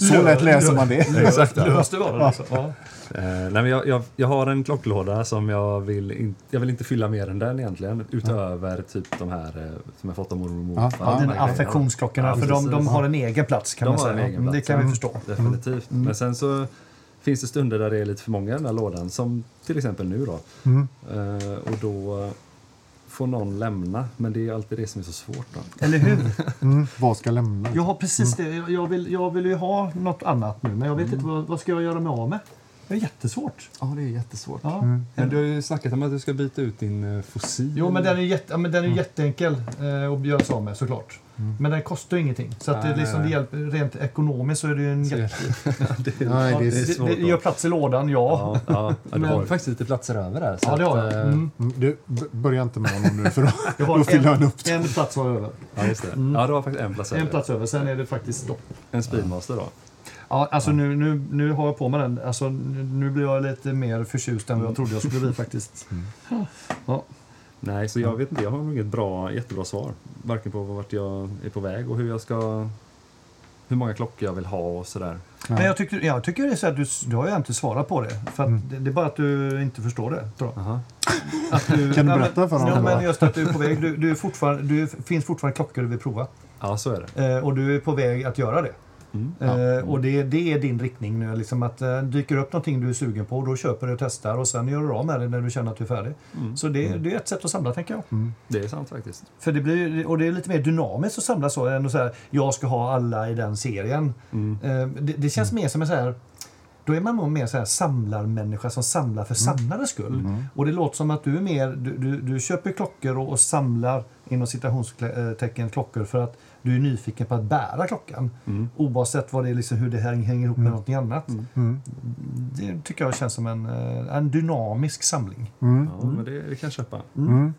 B: Så lätt läser
A: *laughs*
B: man det.
C: Exakt, ja.
A: Löst det var det. Alltså. Ja.
C: Eh, nej, men jag, jag, jag har en klocklåda som jag vill, in, jag vill inte fylla mer än den egentligen. Utöver typ de här eh, som jag fått av mormor och
B: Ja,
C: morfar.
B: ja,
C: De här
A: Dina
C: grejerna.
A: affektionsklockorna,
C: Ja,
A: för de, de
C: precis.
A: har en egen plats kan
C: De
A: man
C: har
A: säga.
C: en egen
A: det
C: plats,
A: kan
C: ja.
A: vi förstå.
C: Definitivt. Men sen så finns det stunder där det är lite för många i den här lådan, som till exempel nu då. Eh, och då får någon lämna, men det är alltid det som är så svårt. Då.
A: Eller *laughs* hur?
B: Mm, vad ska lämna?
A: Jag har precis det. Jag- Jag vill, jag vill ju ha något annat nu, men jag vet inte vad, vad ska jag göra mig av med. Det är jättesvårt.
C: Ja, det är jättesvårt.
A: Ja.
C: Men du har ju snackat om att du ska byta ut din eh, fossil.
A: Jo, men
C: *laughs*
A: den är, jätte, ja, men den är jätteenkel eh, att göra sig av med såklart. Men den kostar ju ingenting. Så att det,
C: Nej,
A: liksom,
C: nej,
A: det
C: nej.
A: hjälper, rent ekonomiskt så är det ju en
C: Så är
A: jätte...
B: Nej,
A: Ja, det,
B: det är
A: det,
C: svårt
A: det
C: då.
A: gör plats i lådan, ja.
C: Ja, ja, ja, du
A: Men-
C: har ju faktiskt lite platser över där. så
A: Ja, det har
C: att,
A: jag.
C: eh,
A: Mm.
B: Mm, Du, b- börja inte med honom nu för
A: Jag
B: då,
A: har
B: då fyller han
A: en,
B: upp
A: en plats var över.
C: Ja, just det. Ja, du har faktiskt en plats
A: En
C: över.
A: plats över, sen är det faktiskt stopp.
C: En Speedmaster då.
A: Ja, alltså Nu, nu, nu har jag på mig den. Alltså, nu nu blir jag lite mer förtjust än vad jag trodde jag skulle bli *laughs* faktiskt. Ja.
C: Nej, så jag vet inte. Jag har nog inget bra, jättebra svar. Varken på vart jag är på väg och hur jag ska... Hur många klockor jag vill ha och sådär.
A: Men jag tycker, jag tycker det är så att du, du har ju inte svarat på det. För
B: Mm.
A: att det, det är bara att du inte förstår det, tror jag.
C: Aha.
A: Att du,
B: Kan du
A: Nej,
B: berätta för
A: men,
B: honom?
A: Ja, men just att du är på väg. Du, du, är fortfarande, du finns fortfarande klockor du vill prova.
C: Ja, så är det.
A: Eh, och du är på väg att göra det.
C: Mm.
A: Eh, och det, det är din riktning nu. Liksom att, eh, dyker upp någonting du är sugen på, då köper du och testar och sen gör du av med det när du känner att du är färdig.
B: Mm.
A: Så det, det är ett sätt att samla, tänker jag.
C: Det är sant faktiskt.
A: För det blir, och det är lite mer dynamiskt att samla så än att säga jag ska ha alla i den serien.
C: Mm.
A: Eh, Det, det känns mer som en så här då är man nog mer så här samlarmänniska som samlar för
C: Mm.
A: samlarens skull. Och det låter som att du är mer, du, du, du köper klockor och, och samlar inom citationstecken klockor för att du är nyfiken på att bära klockan.
C: Mm.
A: Oavsett vad det är liksom, hur det här hänger ihop med någonting annat.
C: Mm.
A: Det tycker jag känns som en, eh, en dynamisk samling.
C: Ja, men det, det kan jag köpa.
B: Mm.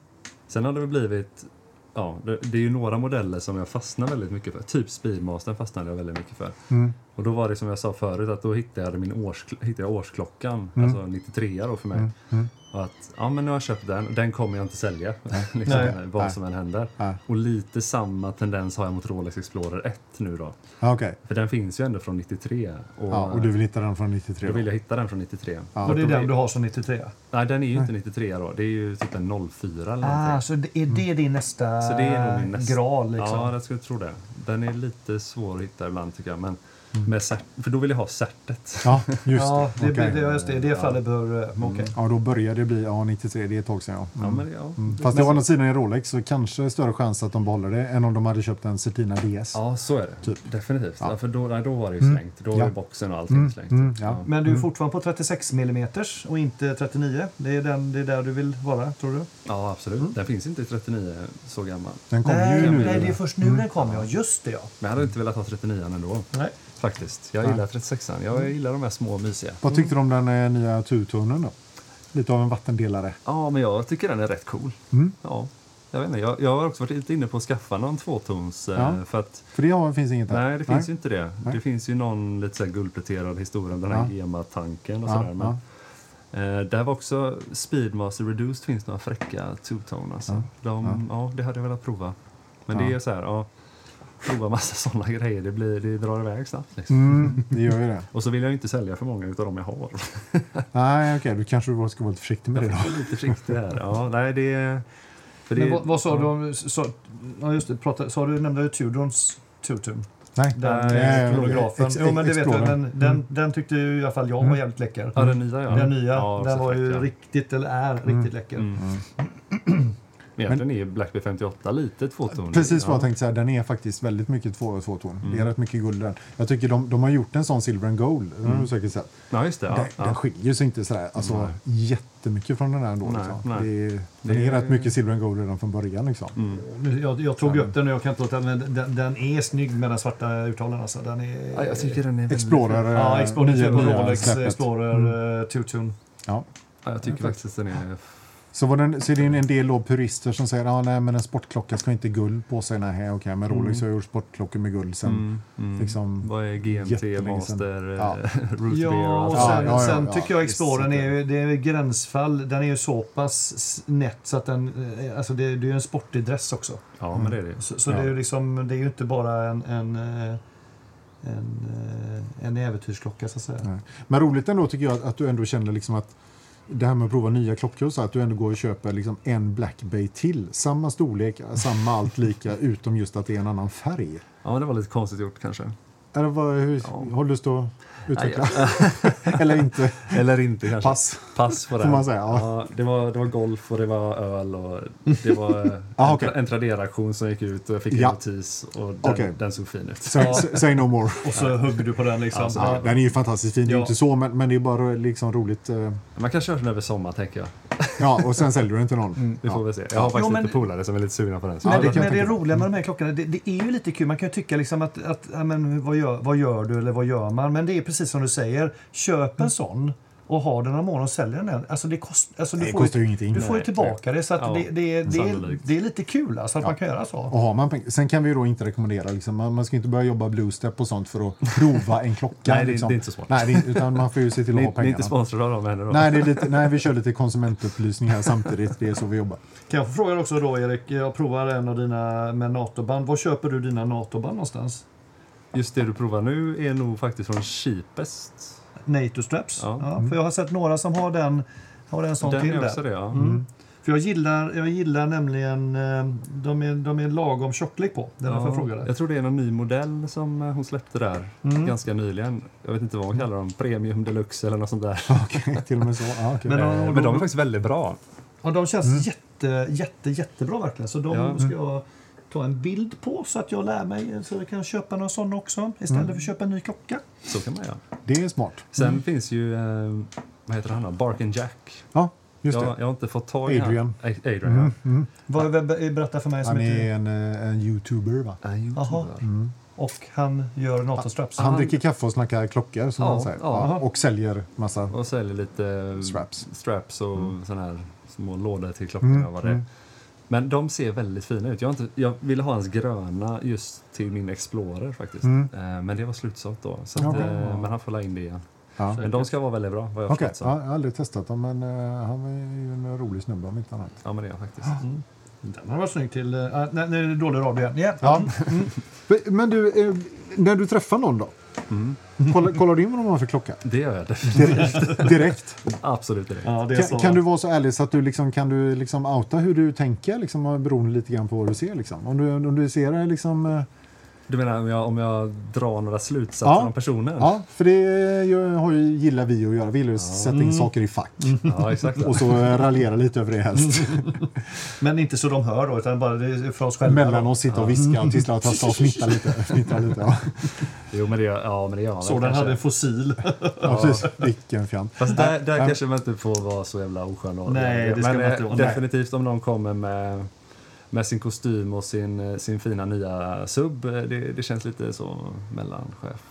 C: Sen har det väl blivit... Ja, det, det är ju några modeller som jag fastnar väldigt mycket för. Typ Speedmastern fastnade jag väldigt mycket för.
B: Mm.
C: Och då var det som jag sa förut, att då hittade jag, min års, hittade jag årsklockan,
B: Mm.
C: alltså 93 då för mig.
B: Mm. Mm.
C: Och att, ja men nu har jag köpt den, och den kommer jag inte sälja. *laughs* liksom,
A: Nej.
C: Vad
B: Nej.
C: som än händer.
B: Ja,
C: Och lite samma tendens har jag mot Rolex Explorer 1 nu då.
B: Ja, okej.
C: För den finns ju ändå från 93. Och,
B: Ja, och du vill hitta den från
C: då
B: 93?
C: vill jag hitta den från 93.
B: Ja.
A: Och det är
C: Då
A: den
C: blir-
A: du har som 93?
C: Nej, den är ju inte 93 då. Det är ju typ en 04 eller
A: Ah,
C: någonting. Mm.
A: så det- är det din nästa,
C: Så det är nog min nästa.
A: graal? Liksom.
C: Ja, jag skulle tro det. Den är lite svår att hitta ibland tycker jag. Men
B: Mm.
C: med cert- för då vill jag ha certet.
B: Ja, just
A: ja,
B: det.
A: det,
B: Okej.
A: det, ja, just det. I det
C: Ja. Mm.
A: fallet bör... eh, Okej.
B: Mm. Ja, då börjar det bli ja, 93. Det är ett tag sedan, ja.
C: Ja, men, ja.
B: Mm. Fast det å andra sidan i Rolex så kanske större chans att de behåller det än om de hade köpt en Certina DS.
C: ja, så är det.
B: Typ.
C: Definitivt.
B: Ja. Mm.
C: Ja. för då, nej, då var det ju slängt. Då var
B: Ja.
C: ju boxen och allting
B: Mm,
C: slängt.
B: mm, ja.
A: Men du är fortfarande på 36 mm och inte 39. Det är, den, det är där du vill vara, tror du?
C: Ja, absolut.
B: Mm.
C: Den finns inte i 39 så gammal.
B: Den kommer ju
A: nej,
B: nu.
A: nej, det är först nu
C: Mm.
A: den kommer. Ja, just det ja.
C: Men jag hade inte velat ha 39 ändå.
A: Nej.
C: Faktiskt. Jag
B: Nej.
C: gillar 36an. Jag gillar de här små mysiga.
B: Vad tyckte du om den eh, nya turtunneln då? Lite av en vattendelare.
C: Ja, men jag tycker den är rätt cool.
B: Mm.
C: Ja, jag vet inte. Jag, jag har också varit lite inne på att skaffa någon tvåtons. eh,
B: Ja.
C: För att,
B: För det har, finns inget där?
C: nej, det finns ju inte det.
B: Nej.
C: Det finns ju någon lite så här guldpläterad historia om den här GEMA-tanken och
B: Ja,
C: sådär. Men, eh, där var också Speedmaster Reduced finns några fräcka two-tone. Alltså. De, ja. det hade jag velat prova. Men det
B: Ja.
C: är så här, ja, prova massa *laughs* sådana grejer. Det, blir, det drar iväg snabbt. Liksom.
B: Mm, det gör ju det.
C: Och så vill jag ju inte sälja för många utav dem jag har.
B: Nej, okej, du kanske ska vara lite försiktig med det då.
C: Jag är lite försiktig här. Ja, nej, det, är- för det,
A: Men vad, vad sa
C: ja.
A: du om... Sa, ja, just det. Prata, sa du, nämnde du Tudorns Tutum?
B: Nej.
A: Den
C: Nej,
A: eh, fotografen.
B: ex-
A: Jo, men det vet
B: Explorer.
A: jag. Den, den, den tyckte ju i alla fall jag var jävligt läcker.
C: Mm. Ja, den nya ja.
A: Den nya,
C: Ja,
A: den
C: så
A: var ju
C: fräck, ja.
A: riktigt, eller är riktigt läcker.
C: Mm. Men egentligen är ju Black Bay 58 lite tvåtonig.
B: Precis vad jag
C: Ja.
B: tänkte säga, den är faktiskt väldigt mycket två, tvåton. Det är rätt mycket guld i den. Jag tycker de, de har gjort en sån silver and gold, den har du säkert sett.
C: Ja, just det. Ja.
B: den,
C: ja.
B: den skiljer sig inte sådär, alltså,
C: Nej.
B: jättemycket från den här ändå.
C: Nej,
B: Liksom.
C: nej.
B: Det, är- den
C: Det
B: är
C: är- Mm.
B: rätt mycket silver and gold redan från början. Liksom.
A: Nu- Jag, jag tog ju upp den och jag kan inte låta men den, den är snygg med den svarta urtavlan. Alltså. Den är...
C: ja, jag tycker den är väldigt-
B: Explorer,
A: Ja,
B: eh,
A: Explorer
B: nya-
A: på
B: nya
A: Rolex
B: släppet.
A: Explorer mm. Tutun.
B: Ja.
C: Ja, jag tycker faktiskt den är...
B: Så, var den, så är det en del då purister som säger att ah, nej, men en sportklocka ska inte guld på sig. Nej, okej, men Rolex har gjort sportklockor med guld sen.
C: Mm, mm.
B: Liksom,
C: Vad är GMT,
B: jättelänge sedan.
C: Master,
B: Ja.
C: ja. *laughs* Root Beer
A: Ja,
C: och
A: och
C: allt
B: Ja,
A: sen,
B: alltså. ja, ja,
A: sen
B: ja.
A: tycker jag Explorern
B: Visst.
A: är, ju- det är ju gränsfall. Den är ju så pass s- nätt så att den, eh, alltså det, det är ju en sportig dress också.
C: Ja, men det är det.
A: Så, så
B: Ja.
A: det, är ju liksom, det är ju inte bara en, en, eh, en, eh, en äventyrsklocka så att säga.
B: Nej. Men roligt ändå tycker jag att, att du ändå känner liksom att det här med att prova nya klockor, så att du ändå går och köper liksom en Black Bay till. Samma storlek, samma allt lika, *laughs* utom just att det är en annan färg.
C: Ja, men det var lite konstigt gjort kanske.
B: Eller vad, hur,
C: Ja.
B: Har du lust att utveckla? *laughs* *laughs* Eller inte?
C: Eller inte kanske.
B: Pass.
C: Pass på det.
B: Får man säga, ja.
C: det, var, det var golf och det var
B: *laughs*
C: öl och det var eh,
B: Ah, okej.
C: en, en Tradera-auktion som gick ut och jag fick en
B: Ja.
C: notis och den,
B: Okej.
C: den såg fin ut.
B: Say, say no more.
A: Och så hugg du på den liksom.
C: Alltså,
B: Ja, den är ju fantastiskt fin, det är ju
A: Ja.
B: inte så, men, men det är bara liksom roligt. eh,
C: Man kan köra den över sommar tänker jag.
B: Ja, och sen säljer du den till någon.
C: Vi Mm, får väl se. Jag har faktiskt
A: Jo, men-
C: lite polare som är lite sugna på den. så-
B: Ja,
A: Men,
B: det
A: det,
B: kan jag
A: men det
B: tänka mig.
A: roliga med de här klockorna, det, det är ju lite kul. Man kan ju tycka liksom att, att ja, men vad, gör, vad gör du eller vad gör man? Men det är precis som du säger, köp en sån och ha den några månader och sälj den. Alltså det, kost, alltså du
B: Det
A: får ju-
B: kostar ju ingenting.
A: Du får ju
C: Nej.
A: tillbaka det så att
C: Ja,
A: det, det, det, är,
C: sannolikt.
A: det är lite kul alltså att man kan göra så.
B: Och har man pengar. Sen kan vi ju då inte rekommendera, liksom, man, man ska inte börja jobba bluestep och sånt för att prova en klocka.
C: Nej, det är-
B: liksom.
C: det är inte så smart.
B: Nej, det är, utan man får ju se till att
C: Ni,
B: ha
C: ni är
B: pengarna.
C: inte sponsrade av dem heller då?
B: Nej, det är lite, nej, vi kör lite konsumentupplysning här samtidigt. Det är så vi
C: *laughs*
B: jobbar. *laughs*
A: Kan jag få fråga också då Erik, jag provar en av dina med NATO-band. Var köper du dina NATO-band någonstans?
C: Just det du provar nu är nog faktiskt från Cheapest.
A: NATO-straps?
C: Ja.
A: Ja. för jag har sett några som har den, har en sån
C: Den
A: till
C: är också
A: där.
C: det, ja.
A: Mm. För jag gillar, jag gillar nämligen, eh, de är, de är lagom tjocklek på. Det är därför
C: ja.
A: jag frågade.
C: Jag tror det är någon ny modell som eh, hon släppte där
A: Mm.
C: ganska nyligen. Jag vet inte vad hon kallar dem, Premium Deluxe eller något sånt där.
B: Okej, till och med så. Ja, okej.
A: Men-
C: Men,
A: de-
C: eh,
A: de-
C: men de är faktiskt väldigt bra.
A: Ja, de känns
B: Mm.
A: jätte, jätte, jättebra verkligen. Så de
C: Ja.
A: ska jag ta en bild på så att jag lär mig. Så jag kan köpa några sådana också istället
B: Mm.
A: för att köpa en ny klocka.
C: Så kan man göra.
B: Det är smart.
C: Sen finns ju, eh, vad heter han då? Bark and Jack.
B: Ja, just
C: jag,
B: det.
C: jag har inte fått tag i han.
B: Adrian.
C: A- Adrian, ja.
A: Vad, berätta för mig som
B: Han
A: inte...
B: är en, eh, en youtuber, va?
C: Han är youtuber.
A: Jaha. Och han gör NATO-straps.
B: Han dricker kaffe och snackar klockor, som
C: Ja,
B: han säger.
C: ja.
B: Ja, och säljer massa...
C: Och säljer lite eh,
B: Straps. Mm.
C: straps och såna här små lådor till klockorna. Vad det är. Men de ser väldigt fina ut. Jag, har inte, jag ville ha hans gröna just till min Explorer faktiskt.
B: Mm.
C: Eh, Men det var slutsålt då. Så att,
B: Okej.
C: eh, Men han får la in det igen.
B: Ja.
C: Men de ska vara väldigt bra vad jag har
B: Okej,
C: förstått.
B: ja, jag
C: så.
B: har aldrig testat dem men eh, han är ju en rolig snubbe om inte annat.
C: Ja men det är jag faktiskt.
A: Mm. Den har varit snygg till... Uh, nej, nej, det är dålig radio igen. Ja.
B: Ja. Mm, Men du, eh, när du träffar någon då? Kollar, kollar du in vad de har för klocka?
C: Det gör jag definitivt.
B: Direkt? Direkt.
C: Absolut direkt.
A: Ja, det är
B: Kan, kan du vara så ärlig så att du liksom, kan du liksom outa hur du tänker liksom, beroende lite grann på vad du ser? Liksom? Om, du, om du ser det liksom... eh,
C: Du menar om jag, om jag drar några slutsatser
B: Ja.
C: om personen?
B: Ja, för det ju, har ju, gillar vi att göra. Vi gillar att sätta in saker i fack. *laughs*
C: Ja, exakt.
B: Och så eh, raljera lite över det helst.
A: Men inte så de hör då, utan bara det är för oss själva.
B: Mellan oss sitta och viska och tissla och tassa och fnitta lite. Fnitta lite ja.
C: Jo men det gör, ja, men det gör jag väl
A: Sådan
C: kanske.
A: hade en fossil.
B: Ja, precis. Vilken fjant.
C: Fast där, där kanske man inte får vara så jävla oskön och
A: Nej, det ska
C: Men
A: man
C: eh,
A: inte vara.
C: definitivt om någon kommer med, med sin kostym och sin, eh, sin fina nya sub. eh, Det, det känns lite så mellanchef.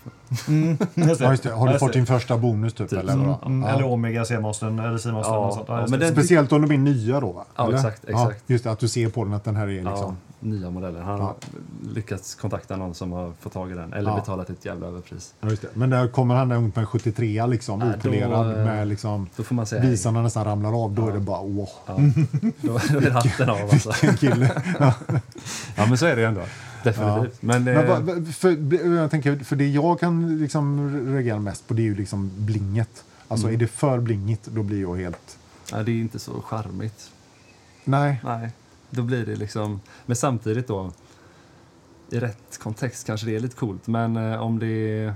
B: Ja, just det. Har du fått din första bonus typ?
C: Typ
B: eller?
C: så.
B: vadå?
A: Mm, Eller Omega C-mastern, eller C-mastern.
C: Ja,
A: och sånt.
C: ja,
A: just
C: men
A: det.
C: den-
B: Speciellt om de är nya då va?
C: Ja,
B: Eller?
C: exakt, exakt.
B: just det, att du ser på den att den här är liksom...
C: Ja, nya modellen. Han har
B: Ja.
C: lyckats kontakta någon som har fått tag i den eller
B: Ja.
C: betalat ett jävla överpris.
B: Ja. just det. Men där kommer han där ungt med 73 liksom,
C: Nej, då,
B: utpolerad
C: eh,
B: med liksom...
C: Då får man säga hej.
B: Visarna nästan ramlar av, då är det bara wow.
C: Ja, då, då är hatten av alltså.
B: En
C: *laughs*
B: kille.
C: Ja men så är det ju ändå. Definitivt. Men, eh,
B: Men vad- vad- för, b- jag tänker, för det jag kan liksom reagera mest på det är ju liksom blinget.
C: Mm.
B: Alltså är det för blingigt då blir jag helt...
C: ja, det är inte så charmigt.
B: Nej.
C: Nej, då blir det liksom... Men samtidigt då, i rätt kontext kanske det är lite coolt, men eh, om det är...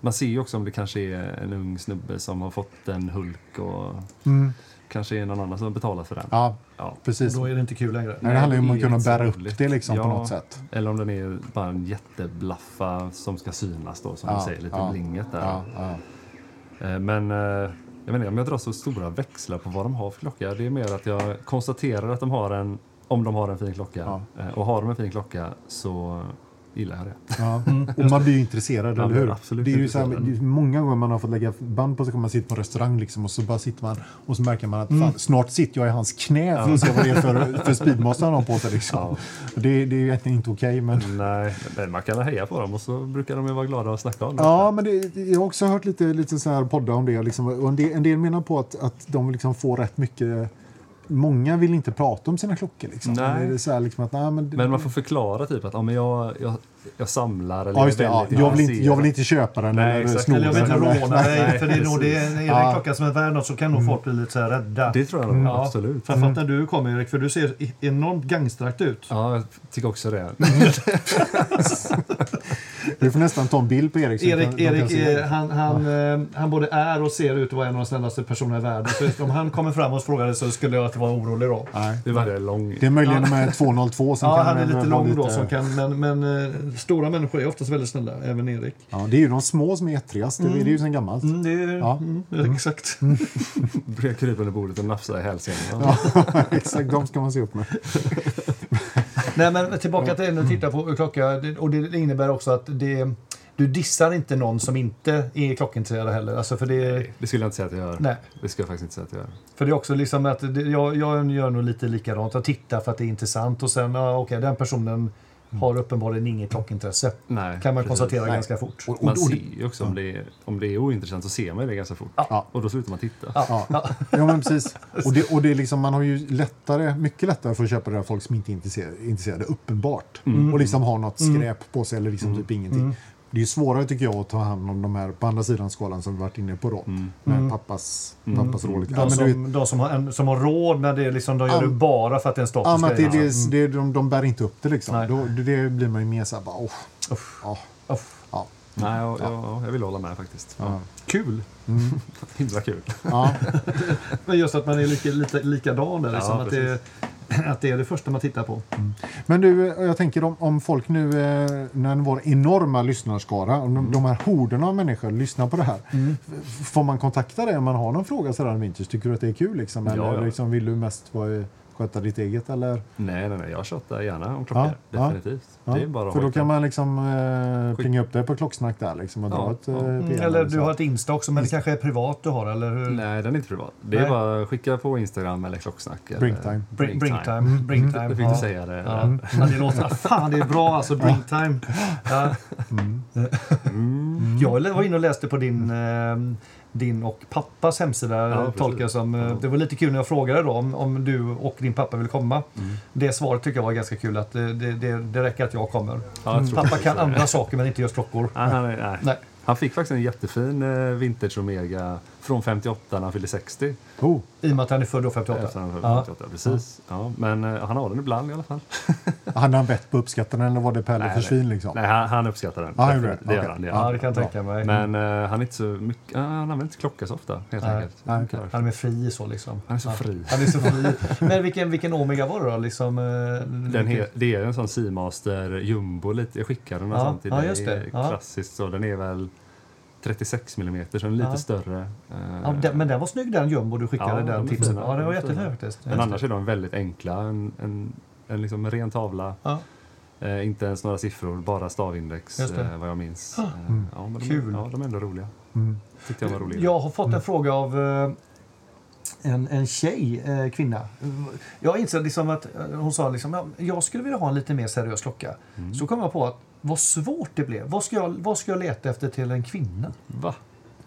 C: Man ser ju också om det kanske är en ung snubbe som har fått en Hulk och
B: Mm.
C: kanske är någon annan som har betalat för den.
B: Ja,
C: Ja.
B: precis.
A: Då är det inte kul längre.
B: Nej, det handlar ju om
C: det
B: att
C: är
B: kunna
C: inte så
B: bära upp
C: roligt.
B: det liksom på
C: Ja.
B: något sätt.
C: Eller om den är bara en jätteblaffa som ska synas då, som
B: Ja,
C: du säger, lite
B: ja,
C: blinget där.
B: Ja, ja.
C: Eh, Men eh, jag vet inte om jag drar så stora växlar på vad de har för klocka. Det är mer att jag konstaterar att de har en, om de har en fin klocka. Eh, Och har de en fin klocka så gillar jag det. *laughs*
B: Ja. Mm. Och man blir ju intresserad,
C: Man
B: eller
C: blir
B: hur?
C: Mm. absolut
B: det är ju så här,
C: intresserad.
B: det är många gånger man har fått lägga band på sig, man sitter på en restaurang liksom, och så bara sitter man och så märker man att
C: Mm.
B: fan, snart sitter jag i hans knä för att se vad det är för, för speedmaster han har på sig. Liksom. Det, det är ju egentligen inte okej, men...
C: Nej, men man kan heja på dem och så brukar de ju vara glada och snacka om det.
B: Ja, men det, jag har också hört lite, lite så här poddar om det. Liksom, och en, del, en del menar på att, att de liksom får rätt mycket... Många vill inte prata om sina klockor. Liksom.
C: Nej.
B: Det är så här, liksom, att, nej, men,
C: Men man får förklara typ att ja, men jag, jag, jag samlar eller
B: ja, just det,
C: jag,
B: ja,
C: är väldigt
B: jag, vill inte, jag
C: intresserad.
B: vill inte köpa den
C: Nej,
B: eller
C: exakt.
B: sno den.
A: Eller jag vill inte
B: eller-
A: råna dig,
C: Nej,
A: för det är nog det.
C: precis. Mm.
A: Är det
B: Ja.
A: en klocka som är värd något så kan nog folk bli lite så här rädda.
C: Det tror jag
B: Mm.
C: nog, absolut. Mm.
A: Framförallt när du kommer Erik, för du ser i- enormt gangstrakt ut.
C: Ja, jag tycker också
B: Mm.
C: det.
B: Du får nästan ta en bild på Erik. så de kan-
A: Erik,
B: de kan
A: Erik
B: se
A: eh,
B: det.
A: han, han, eh, han både är och ser ut att vara en av de snällaste personerna i världen. Så om han kommer fram och frågar så skulle jag inte vara orolig då.
B: Nej.
C: Det var det lång.
B: Det är möjligen de här 202 som
A: Ja,
B: kan...
A: han är
B: eh,
A: lite
B: vara
A: lång då, som kan, men, men eh, stora människor är oftast väldigt snälla, även Erik.
B: Ja, det är ju de små som är ettrigast. Det är det ju sen gammalt.
A: Mm, det är,
B: Ja.
A: mm, det är exakt.
C: Jag kryper under bordet och nafsar i hälsenan.
B: *laughs* Exakt, de ska man se upp med.
A: Nej, men
B: Mm.
A: tillbaka till det du tittar på klocka. Det- Och det innebär också att det, du dissar inte någon som inte är klockintresserad heller. Alltså för, det,
C: Det skulle jag inte säga att jag gör.
A: nej,
C: Det skulle jag faktiskt inte säga att jag gör.
A: för det är också liksom att det, jag, jag gör nog lite likadant. Jag tittar för att det är intressant och sen, ja, okej, den personen har uppenbarligen inget klockintresse.
C: Nej,
A: Kan man
C: precis.
A: konstatera
B: Mm. Nej.
A: ganska fort.
B: Och, och,
C: Man
B: och,
C: ser ju också om det, är, om det är ointressant så ser man ju det ganska fort.
B: Ja.
C: Och då slutar man titta.
B: Ja, ja men *laughs* precis. Och, det, och det är liksom, man har ju lättare, mycket lättare för att köpa det där folk som inte är intresserade, intresserade uppenbart. Och liksom har något skräp på sig eller liksom typ ingenting. Det är ju svårare tycker jag att ta hand om de här på andra sidan skalan som vi varit inne på då. Med pappas, pappas roligt.
A: De,
B: Mm. Ja, men du vet,
A: som, de som, har en, som har råd, men det är liksom, de gör
B: Ja.
A: det bara för att det är en
B: ja, men
A: statusgrej.
B: att det,
A: liksom.
B: det, det, de, de bär inte upp det liksom.
A: Nej.
B: Då, det, det blir man ju mer såhär bara, oh,
A: Uff,
B: ja,
A: uff.
B: ja.
C: Nej, jag, jag, jag vill hålla med faktiskt.
B: Ja. Mm.
A: Kul!
C: *laughs* Himla kul.
B: Ja, *laughs*
A: Men just att man är lika, lite likadan där. Liksom,
C: Ja,
A: att, det, att det är det första man tittar på.
B: Men du, eh, jag tänker om, om folk nu, eh, när vår enorma lyssnarskara, om
C: Mm.
B: de, de här horderna av människor lyssnar på det här. f- Får man kontakta dig om man har någon fråga sådär om vintage? Tycker du att det är kul liksom? Eller
C: Ja, ja.
B: Liksom, vill du mest vara eh, sköta ditt eget? Eller?
C: Nej, nej, nej. Jag tjatar gärna om klockor.
B: Ja, ja.
C: definitivt.
B: Ja,
C: Det är bara att
B: för då
C: hojta.
B: kan man liksom eh, pinga upp det på klocksnack där liksom, och dra
C: Ja,
B: ett
C: ja.
B: eh,
C: Mm,
A: Mm,
B: PM
A: eller
B: så.
A: du har ett Insta också, men det kanske är privat du har? Eller hur?
C: Nej, den är inte privat. Det är
A: Nej.
C: bara att skicka på Instagram eller Klocksnack. Eller
B: Brinktime.
A: Bring, bring time. Bring time.
C: Du fick
A: ja.
C: inte säga Mm, det.
A: Ja. Ja, det
C: *laughs*
A: låter... Fan, det är bra alltså. Bring time. Ja. Mm.
C: Mm.
A: Jag var inne och läste på din, eh, din och pappas hemsida.
C: Ja, precis.
A: tolkar jag som, eh, Det var lite kul när jag frågade då om, om du och din pappa vill komma.
C: Mm.
A: Det svaret tycker jag var ganska kul. Att eh, det, det, det räcker att jag kommer.
C: Ja, jag Mm. tror
A: Pappa
C: precis
A: kan
C: det.
A: andra saker men inte just klockor.
C: Nej, han, är- nej.
A: Nej.
C: han fick faktiskt en jättefin eh, vintage Omega från 58 när han fyllde 60.
B: Oh,
A: I och med att han är född då 58.
C: Efter han fyllde
A: Ja.
C: 58. Precis. Ja, men eh, han har den ibland i alla fall.
B: hade han bett på uppskattaren eller var det Pelle för svin? Liksom?
C: nej han, han uppskattar den.
B: Ja, han gjorde
C: Definitivt.
B: det.
C: det
B: Okej.
C: gör han. Det gör
A: Ja,
C: han.
A: det kan jag
B: Bra.
A: tänka mig.
C: Men eh, han, är inte så mycket, eh, han använder inte klocka så ofta helt
A: Nej.
C: enkelt.
B: Nej,
C: Jag tror
B: okej.
C: det.
A: Han är mer fri så liksom.
C: Han är så
A: Ja.
C: fri.
A: Han är så fri. Men vilken, vilken Omega var det då? Liksom, eh,
C: Den
A: vilken-
C: he, det är en sån Seamaster jumbo lite. Jag skickade den
A: Ja,
C: någonstans till
A: ja,
C: dig.
A: just det. Ja.
C: Klassiskt så. Den är väl 36 mm så den är lite
A: Ja.
C: större. Eh,
A: Ja, den, men den var snygg den jumbo du skickade.
C: Ja, de
A: den
C: är
A: tipsen.
C: fina.
A: Ja, den var
C: De är fina.
A: jättefin faktiskt.
C: men annars är de väldigt enkla. En, en, en liksom ren tavla.
A: Ja.
C: Eh, inte ens några siffror, bara stavindex
A: Just det.
C: eh, vad jag minns. Eh, ja, men de,
A: Kul.
C: Ja, de är ändå roliga.
B: Mm.
C: Tyckte jag var roliga.
A: Jag har fått en fråga av eh, en, en tjej, eh, kvinna. Jag insåg liksom att eh, hon sa liksom, "Ja, jag skulle vilja ha en lite mer seriös klocka.
C: Mm.
A: Så kom jag på att vad svårt det blev. Vad ska, jag, vad ska jag leta efter till en kvinna?
C: Va?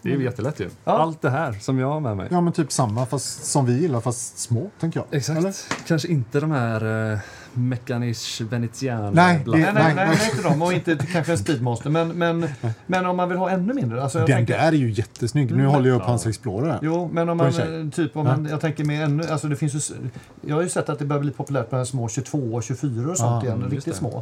C: Det är ju jättelätt ju.
A: Ja.
C: Allt det här som jag har med mig.
B: Ja, men typ samma fast som vi gillar fast små, tänker jag.
C: Exakt. Kanske inte de här eh, Mechanisch Venetian...
B: Nej, det-
A: Nej, nej, nej,
B: nej.
A: nej, inte dem och inte kanske en speedmaster. Men, men, men om man vill ha ännu mindre. Alltså jag
B: Den
A: tänker, Mm,
B: där är ju jättesnygg. Nu håller jag upp hans Explorer. här.
A: Jo, men om
B: För
A: man,
B: sig.
A: eh, typ om man, jag tänker med ännu, alltså det finns ju, s- jag har ju sett att det börjar bli populärt med de här små 22 och 24 och sånt
B: Ah,
A: igen,
C: mm, just
A: riktigt
C: det.
A: små.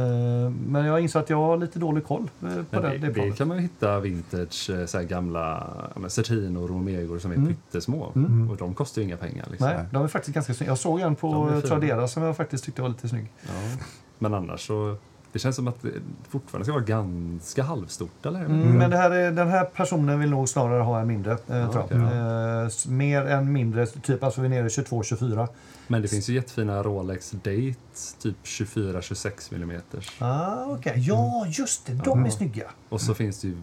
A: Eh, Men jag inser att jag har lite dålig koll eh, på
C: Men
A: det,
C: det,
A: det
C: det
A: planet.
C: kan man ju hitta vintage, eh, så här gamla ja, men Certinor och Omegor som är pyttesmå. Mm. Och de kostar ju inga pengar. Liksom.
A: Mm. Nej, de är faktiskt ganska snygga. Jag såg en
C: De
A: på
C: är
A: eh,
C: fina.
A: Tradera som jag faktiskt tyckte var lite snygg.
C: Ja. Men annars så... Det känns som att det fortfarande ska vara ganska halvstort, eller?
A: Mm, Men det här, är- den här personen vill nog snarare ha en mindre, eh, tror jag.
C: okej,
A: Eh, s- Mer än mindre, typ alltså vi är nere i 22-24.
C: Men det finns ju jättefina Rolex Date, typ 24-26 mm.
A: Ah, okej. Ja, just det, de är snygga.
C: Och så finns det ju...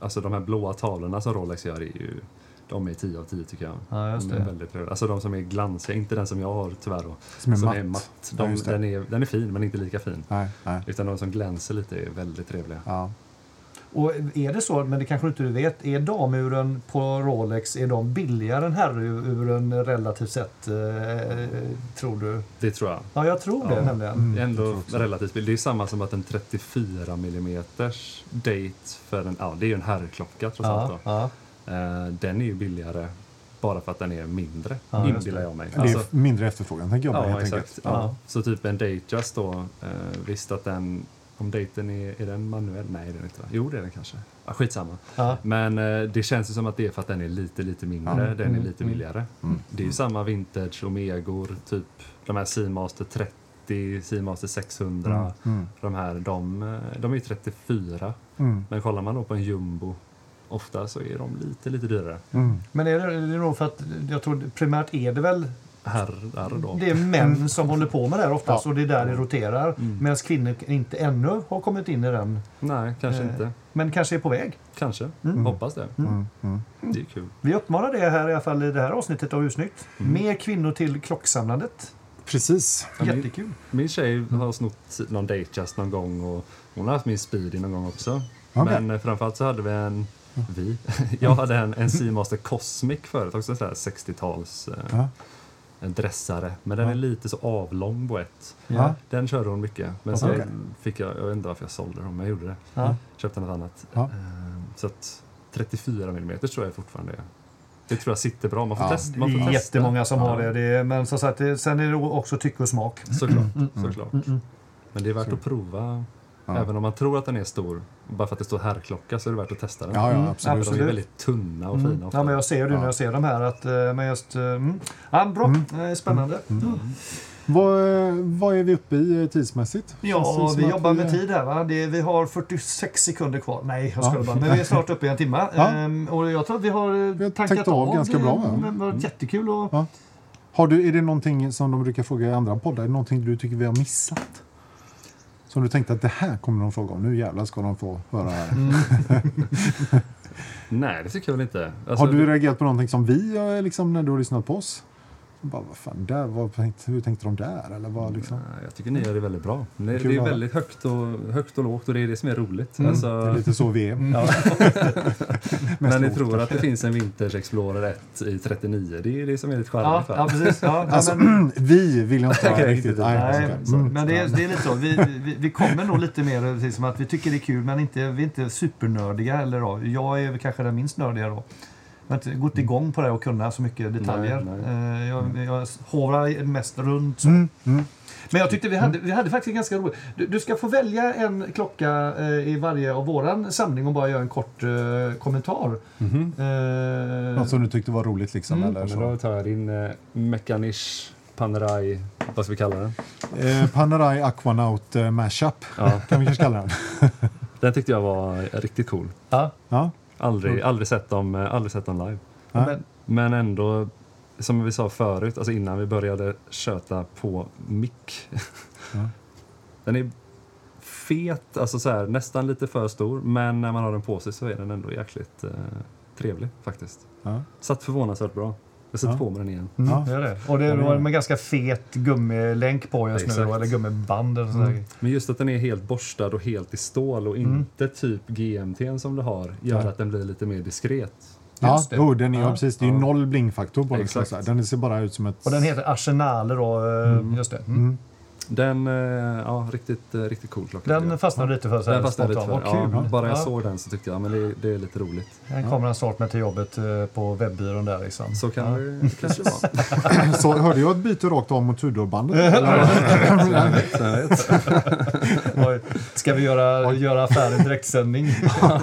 C: Alltså de här blåa tavlorna som Rolex gör är ju... De är 10 av 10 tycker jag.
A: Ja, just
C: De är
A: det.
C: väldigt röda. Alltså de som är glansiga, inte den som jag har tyvärr då.
B: Som är matt. Ja,
C: De,
B: just det.
C: den, är, den är fin, men inte lika fin.
B: Nej, nej.
C: Utan de som glänser lite är väldigt trevliga.
B: Ja.
A: Och är det så, men det kanske inte du vet, är damuren på Rolex är de billigare än herruren relativt sett? Eh, tror du?
C: Det tror jag.
A: Ja, jag tror det
C: Ja. Mm.
A: nämligen.
B: Mm,
C: Ändå relativt billigt. Det är ju samma som att en 34 mm date för en, ja det är ju en herrklocka trots
A: Ja,
C: allt då.
A: ja.
C: Eh, Den är ju billigare bara för att den är mindre,
A: Ja, just
C: inbillar jag mig.
B: Det är
C: Alltså,
B: f- mindre efterfrågan, tänker jag. bara,
C: ja,
B: helt
C: exakt.
B: enkelt.
C: Ja.
A: Ja.
C: Så typ en datejust då, eh, visst att den, om daten är, är den manuell? Nej det är den inte. va? Jo det är den kanske. Ja, skitsamma.
A: Ja.
C: Men eh, det känns ju som att det är för att den är lite, lite mindre. Den
A: Mm.
C: är lite billigare.
B: Mm.
C: Det är ju samma vintage Omegor, typ de här Seamaster 30, Seamaster 600.
A: Mm.
C: De här, de, eh, de är ju 34.
B: Mm.
C: Men kollar man då på en jumbo, ofta så är de lite, lite dyrare.
B: Mm.
A: Men är det, är det nog för att jag tror primärt är det väl
C: Herrar då.
A: det är män som håller på med det här oftast
B: Ja.
A: och det är där det roterar.
C: Mm.
A: Medan kvinnor inte ännu har kommit in i den.
C: Nej, kanske
A: Eh. Mm.
C: inte.
A: Men kanske är på väg.
C: Kanske. Hoppas det.
B: mm,
C: Det är kul.
A: Vi uppmanar det här i alla fall i det här avsnittet av Usnyggt. Mer kvinnor till klocksamlandet.
B: Precis.
C: Mm. Ja, men-
A: Jättekul.
C: Min tjej har snott någon datejust någon gång och hon har haft min speedy någon gång också.
B: Okej.
C: Men eh, framförallt så hade vi en, vi, *laughs* jag hade en, en Seamaster Cosmic förut också, sådär 60-tals eh,
B: Ja.
C: en dressare. Men den är lite så avlång boett.
B: Ja.
C: Den körde hon mycket. Men så
B: Okej.
C: fick jag, jag vet inte varför jag sålde dem, men jag gjorde det.
A: Ja.
C: Köpte något annat.
B: Ja.
C: Eh, Så att 34 mm tror jag fortfarande är. Det tror jag sitter bra. Man får
B: Ja.
C: testa.
A: Det
C: Man får
A: är
C: testa.
A: jättemånga som har
C: Ja.
A: det. det är, men som sagt, det, sen är det också tycke och smak.
C: Såklart. såklart. Men det är värt att prova. Även om man tror att den är stor, bara för att det står herrklocka så är det värt att testa den.
B: Ja,
A: Mm,
B: ja, absolut.
C: För de är väldigt tunna och fina. ofta.
A: Ja, men jag ser det nu när jag ser de här. Att, eh, men just, eh, mm. ja, bra, Eh, spännande. Mm.
B: Vad, eh, vad är vi uppe i eh, tidsmässigt? Känns
A: Ja,
B: det som
A: vi
B: att
A: jobbar
B: vi-
A: med tid här. Va? Det, är- vi har 46 sekunder kvar. Nej, jag skojar bara. Men vi är snart uppe i en timme.
B: Ja.
A: Ehm, och jag tror att vi har eh,
B: har
A: tankat
B: täckt av ganska bra,
A: Det
B: va?
A: har varit jättekul. Och,
B: Ja. Har du, är det någonting som de brukar fråga i andra poddar? Är det någonting du tycker vi har missat? Som du tänkte att det här kommer de fråga om. Nu jävlar ska de få höra. Här.
C: Nej, det tycker jag väl inte. Alltså,
B: Har du reagerat på någonting som vi har liksom, när du har lyssnat på oss? Bara, vad fan, där, vad tänkte, hur tänkte de där? Eller vad, liksom?
C: Nej, Jag tycker ni gör det väldigt bra. Det,
B: Kul
C: det
B: att
C: är
B: höra.
C: väldigt högt och, högt och lågt och det är det som är roligt.
B: Det är
C: *laughs* Alltså,
B: lite så vi är.
C: ja. Men ni
B: lågt,
C: tror att det finns en Vintage Explorer 1 i 39. Det är det som är lite
D: Ja,
C: charmigt.
D: ja,
C: va?
D: precis. Ja, ja,
B: *laughs* Alltså,
D: men,
B: *clears throat* vi vill jag inte höra
C: Okej,
B: riktigt.
C: riktigt.
B: Nej,
D: nej,
B: okej. Mm.
D: men det, är, det är lite så. Vi,
A: Vi, vi kommer nog lite mer precis som att vi tycker det är kul men inte, vi är inte supernördiga. Eller då. Jag är väl kanske den minst nördiga då. Jag har inte gått igång på det och kunna så mycket detaljer.
C: Nej,
A: Eh, Jag, jag hovrar mest runt. Så.
B: Mm.
A: Men jag tyckte vi hade, vi hade faktiskt ganska roligt. Du, du ska få välja en klocka eh, i varje av våran samling och bara göra en kort eh, kommentar. Eh,
B: Något som du tyckte var roligt liksom? Eller
C: Men
B: så.
C: Då tar jag din eh, Mechanish Panerai, vad ska vi kalla den?
B: Eh, Panerai Aquanaut eh, Mashup
C: Ja,
B: kan vi kanske kalla den.
C: den tyckte jag var riktigt cool.
D: ja,
B: Ja.
C: Aldrig, aldrig, sett dem, eh, aldrig sett dem live.
B: Ja.
A: men,
C: Men ändå, som vi sa förut, alltså innan vi började köta på mick. *laughs*
B: Ja.
C: Den är fet, alltså så här, nästan lite för stor, men när man har den på sig så är den ändå jäkligt eh, trevlig faktiskt.
B: Ja.
C: Satt förvånansvärt bra. Jag sätter
B: Ja.
C: på mig den igen.
B: Ja.
A: Gör det. Och det var med ganska fet gummilänk på just nu,
C: Exakt.
A: då, eller gummiband. Eller sådär.
C: Men just att den är helt borstad och helt i stål och inte typ GMT som du har gör att den blir lite mer diskret.
B: Ja,
A: Just det.
B: jo, den är, ja,
A: Ja.
B: precis, det är ju noll blingfaktor på den.
C: Exakt.
B: så att säga. Den ser bara ut som ett...
A: Och den heter Arsenale då, eh, just det. Mm.
C: Den, eh, ja riktigt, eh, riktigt cool klocka. tycker
A: Den
C: jag.
A: fastnade lite för sig.
C: den fastnade lite för.
A: spontant. Vad
C: Ja,
A: kul.
C: bara jag
A: Ja.
C: såg den så tyckte jag men det, det är lite roligt.
A: Den kommer han snart med till jobbet eh, på webbyrån där
C: *laughs*
A: liksom.
C: Så kan det kanske *laughs*
B: *coughs*
C: vara.
B: så, hörde jag ett byte rakt av mot Tudorbandet? Eller?
A: Oj, Ska vi göra, göra affären
C: *laughs*
A: direktsändning?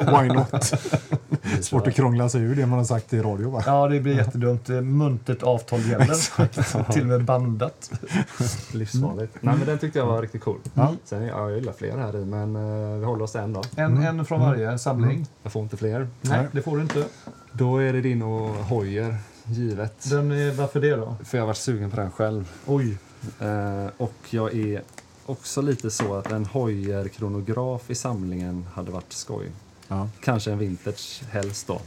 B: Why not? Svårt att krångla sig ur det man har sagt i radio. Va?
A: Ja, det blir jättedumt. Eh, Muntet avtal gäller. *laughs* Till och med bandat.
C: Livsfarligt. Nej, men den tyckte jag var riktigt cool.
B: Ja.
C: Sen, ja, jag gillar fler här i, men eh, vi håller oss till en då.
A: En,
C: Mm.
A: en från varje samling.
C: Jag får inte fler.
A: Nej, det får du inte.
C: Då är det din och Hoyer, givet.
A: Den är, varför det då?
C: För jag har varit sugen på den själv.
A: Oj.
C: Eh, och jag är också lite så att en Hoyer-kronograf i samlingen hade varit skoj.
B: Ja.
C: Kanske en vintage helst då.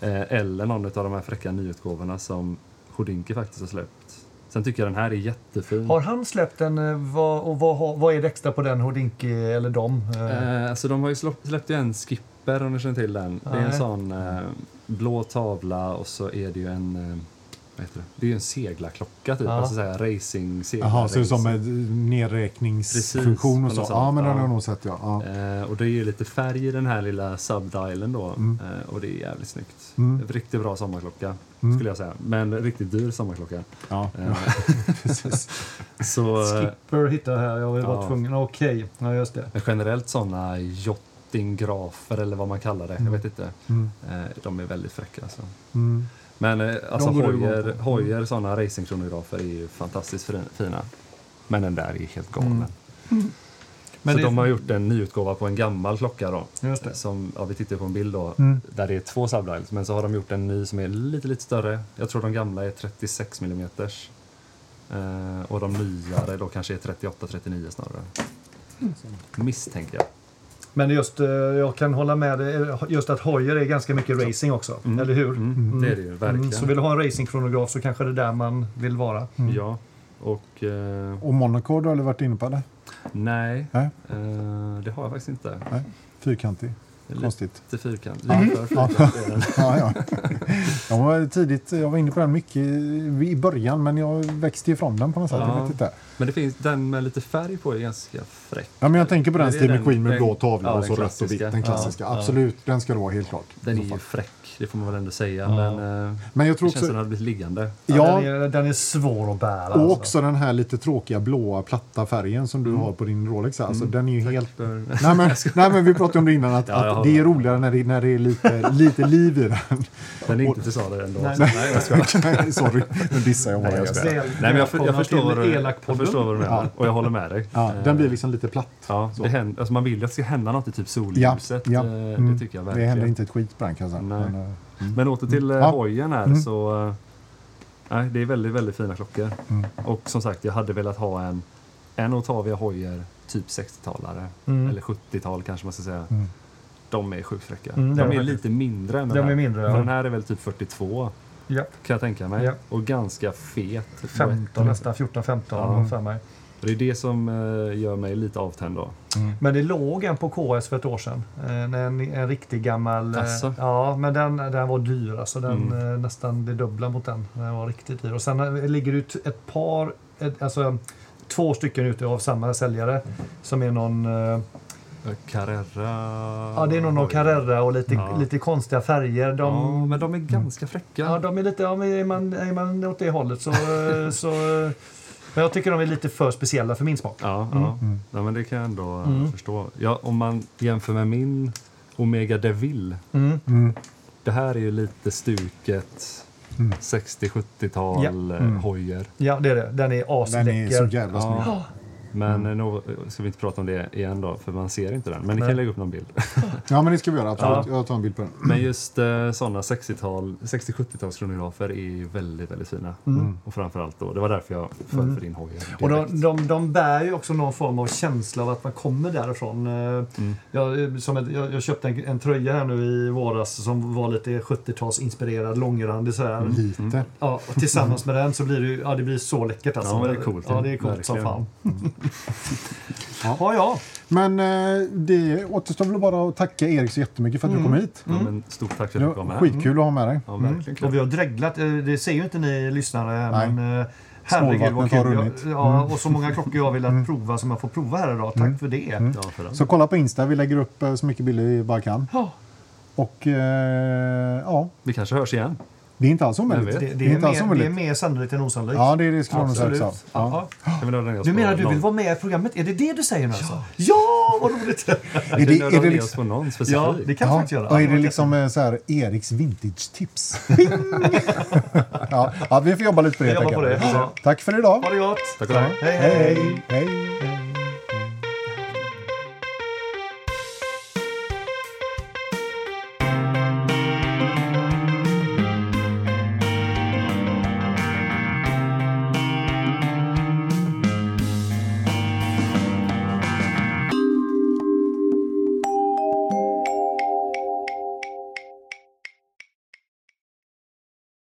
C: Eh, eller någon av de här fräcka nyutgåvorna som Houdinki faktiskt har släppt. Sen tycker jag den här är jättefin.
A: Har han släppt en, eh, vad, och vad, har- vad är det extra på den Houdinki eller dem? Eh,
C: Eh, alltså de har ju slå- släppt ju en skipper om ni känner till den. Det är en
A: Nej.
C: sån eh, blå tavla och så är det ju en eh, vad heter det? det är ju en seglarklocka typ.
A: Ja.
C: Alltså så här racing seglar.
B: Jaha, så det är som
C: racing.
B: en nedräkningsfunktion och
C: liksom- Precis,
B: så.
C: på något
B: Ja, men
C: sätt,
B: den har
C: ja.
B: jag nog sett. Ja. Ja.
C: Eh, och det är ju lite färg i den här lilla subdialen då. Eh, och det är jävligt snyggt.
B: Mm.
C: En Riktigt bra sommarklocka skulle jag säga. Men riktigt dyr sommarklocka.
B: Ja.
C: *laughs* Eh,
B: Precis. *laughs*
C: så eh,
A: Skipper hittar jag här. Jag var
C: Ja.
A: tvungen. Okej, ja just det.
C: men eh, generellt såna jottinggrafer eller vad man kallar det. Jag vet inte.
B: Mm.
C: Eh, de är väldigt fräcka alltså.
B: Mm.
C: Men eh, alltså
A: går det igång
C: Hoyer, Hoyer sådana racingkronografer är ju fantastiskt fin- fina. Men den där är ju helt galen.
B: Mm.
A: Mm. Men
C: så
A: det-
C: de har gjort en nyutgåva på en gammal klocka då.
A: Just det.
C: Som, ja, vi tittar på en bild då,
B: Mm.
C: där det är två subdials. Men så har de gjort en ny som är lite, lite större. Jag tror de gamla är 36 mm. Eh, och de nyare då kanske är 38-39 snarare. Misstänker jag.
A: Men just, eh, jag kan hålla med dig, eh, just att hojer är ganska mycket racing också,
C: Mm.
A: eller hur?
C: Mm, Det är det ju, verkligen.
A: Mm, Så vill du ha en racingkronograf så kanske det är där man vill vara.
B: Mm.
C: Ja, och... Eh,
B: Och Monaco har du aldrig varit inne på det?
C: nej,
B: Nej.
C: Eh, det har jag faktiskt inte.
B: Nej. Fyrkantig. Konstigt. Mm.
C: Lite fyrkant. Lite för fyrkant är den.
B: Ja, ja. Jag var tidigt, jag var inne på den mycket i- i början men jag växte ifrån den på något sätt. Jag
C: Ja.
B: vet inte.
C: Men det finns, den med lite färg på är ganska fräck.
B: Ja, men jag tänker på
C: Men
B: den
C: det är
B: Steve
C: den-
B: McQueen med
C: den-
B: blå tavla
C: ja,
B: och så
C: den
B: rött och vitt. Den
C: klassiska.
B: klassiska. Absolut, den ska det vara helt klart.
C: Den
B: Så
C: är ju
B: fan.
C: fräck, det får man väl ändå säga. Men eh,
B: Men jag
C: det
B: tror
C: känns som
B: också...
C: den hade blivit liggande.
B: Ja,
A: Den, är, den är svår att bära.
B: och
A: alltså.
B: också den här lite tråkiga blåa platta färgen som
C: Mm.
B: du har på din Rolex. här. Alltså, Den är ju
C: *laughs*
B: helt...
C: För,
B: Nej men, nej men vi pratade om det innan att,
C: Ja, jag
B: att
C: håller
B: det är
C: med.
B: roligare när det, när det är lite, lite liv i den.
C: den är inte till salu ändå.
A: Nej,
C: Nej, nej, jag
B: *laughs*
C: skojar.
B: Sorry, nu dissar jag bara.
C: Nej, jag
B: just
C: skojar.
B: det.
A: Väl-
C: nej, men jag, för- jag,
A: välkomna
C: förstår,
A: till
C: jag
A: Elakpodden.
C: förstår vad du menar och jag håller med dig.
B: Ja,
C: Eh,
B: den blir liksom lite platt.
C: ja, det händer, alltså man vill ju att det ska hända något i typ
B: Ja,
C: solljuset.
B: ja.
C: eh,
B: Mm.
C: Det tycker jag
B: Det eh,
C: verkligen.
B: händer inte ett skit på den kan jag säga.
C: Nej.
B: Men, eh,
C: Men åter till eh,
B: Ja.
C: hojen här så eh, Nej, det är väldigt, väldigt fina klockor.
B: Mm.
C: Och som sagt, jag hade velat ha en, en Otavia Hoyer typ 60-talare.
A: Mm.
C: Eller 70-tal kanske man ska säga.
B: Mm.
C: De är sjukt fräcka.
A: Mm,
C: de
A: ja,
C: är
A: faktiskt.
C: lite mindre än den
A: De
C: här.
A: är mindre,
C: Den
A: ja.
C: här är väl typ 42
A: ja.
C: kan jag tänka mig.
A: Ja.
C: Och ganska fet.
A: 15 nästan, 14-15
C: Mm. Ja.
A: för mig.
C: Och Det är det som eh, gör mig lite avtänd då.
A: Men det låg en på KS för ett år sedan. En, en, en riktig gammal... eh,
C: Asså?
A: Ja, men den, den var dyr. Alltså den
C: Mm.
A: eh, nästan det dubbla mot den. Den var riktigt dyr. Och sen eh, ligger det ut ett par, ett, alltså två stycken ute av samma säljare. Som är någon, eh,
C: Eh, Carrera...
A: ja det är någon, någon Carrera och lite,
C: Ja.
A: lite konstiga färger. De,
C: Ja, men de är ganska fräcka.
A: Mm. Ja, de är lite, ja, men är, man, är man åt det hållet så, eh, så... eh, Men jag tycker de är lite för speciella för min smak.
C: Ja, ja. ja men det kan jag ändå eh,
A: Mm.
C: förstå. Ja, om man jämför med min Omega Deville.
A: Mm.
B: Mm.
C: Det här är ju lite stuket
B: Mm.
C: 60-70-tal
A: Ja.
C: eh,
B: Mm.
C: hojer.
A: Ja, det är det. Den är
B: Den är så
A: asläcker.
B: jävla snygg.
C: Ja. Men eh, nog ska vi inte prata om det igen då, för man ser inte den. Men ni
A: Nej.
C: kan lägga upp någon bild.
B: Ja, men det ska vi göra. Absolut. Jag tar en bild på den.
C: Men just eh, sådana 60-tal, 60-70-tals kronografer är ju väldigt, väldigt fina.
A: Mm.
C: Och framförallt då, det var därför jag föll för din hoj.
A: Och de, de, de bär ju också någon form av känsla av att man kommer därifrån. Eh,
C: Mm.
A: Jag, eh, som ett, jag, jag köpte en, en tröja här nu i våras som var lite 70-talsinspirerad, långrandig sådär.
C: Mm.
B: Lite.
A: Ja, och tillsammans med den så blir det, ju- ja, det blir så läckert alltså.
C: Ja, det är coolt,
A: Ja, det är coolt som
C: verkligen. Mm.
A: fan. *laughs* ja, ja.
B: Men eh, det återstår väl bara att tacka Erik så jättemycket för att du
C: Mm.
B: kom hit.
A: Mm.
C: Ja, men stort tack för
B: Det
C: att du kom
B: var
C: med.
B: skitkul att ha med dig.
C: Ja, verkligen kul.
A: Och vi har dreglat, eh, det ser ju inte ni lyssnare här,
B: Nej.
A: men eh, herregud vad
B: Småvattnet har
A: kul.
B: runnit.
A: Jag, ja,
C: Mm.
A: och så många klockor jag har velat prova som jag får prova här idag. Tack för det.
C: Ja, för den.
B: Så kolla på Insta. Vi lägger upp eh, så mycket bilder vi bara kan.
A: Ja,
B: Och eh, ja,
C: Vi kanske hörs igen.
B: det är inte alls
C: Jag
B: omöjligt.
A: det,
C: vet.
A: det, är
B: Det är inte alls
A: mer, det är
B: omöjligt.
A: mer sannolikt än osannolikt.
B: Ja, det är det skulle jag nog säga.
A: Absolut.
B: också. Ja.
A: Ja. Ja.
C: Jag vill ha den här
A: Du
C: på
A: menar att du
C: någon-
A: vill vara med i programmet? Är det det du säger nu alltså? Ja, vad roligt!
B: Är det, är det
C: ner oss
B: liksom,
C: på någon specifik?
A: Ja, det kan vi
B: ja,
A: faktiskt göra.
B: och är det liksom eh, så här, Eriks vintage-tips? *laughs* ja, ja, vi får jobba lite på det.
A: Vi jobbar
B: helt
A: på
B: enkelt.
A: det. Ja.
B: Tack för idag.
A: Ha det gott!
C: Tack och hej.
A: hej! hej.
B: hej. hej.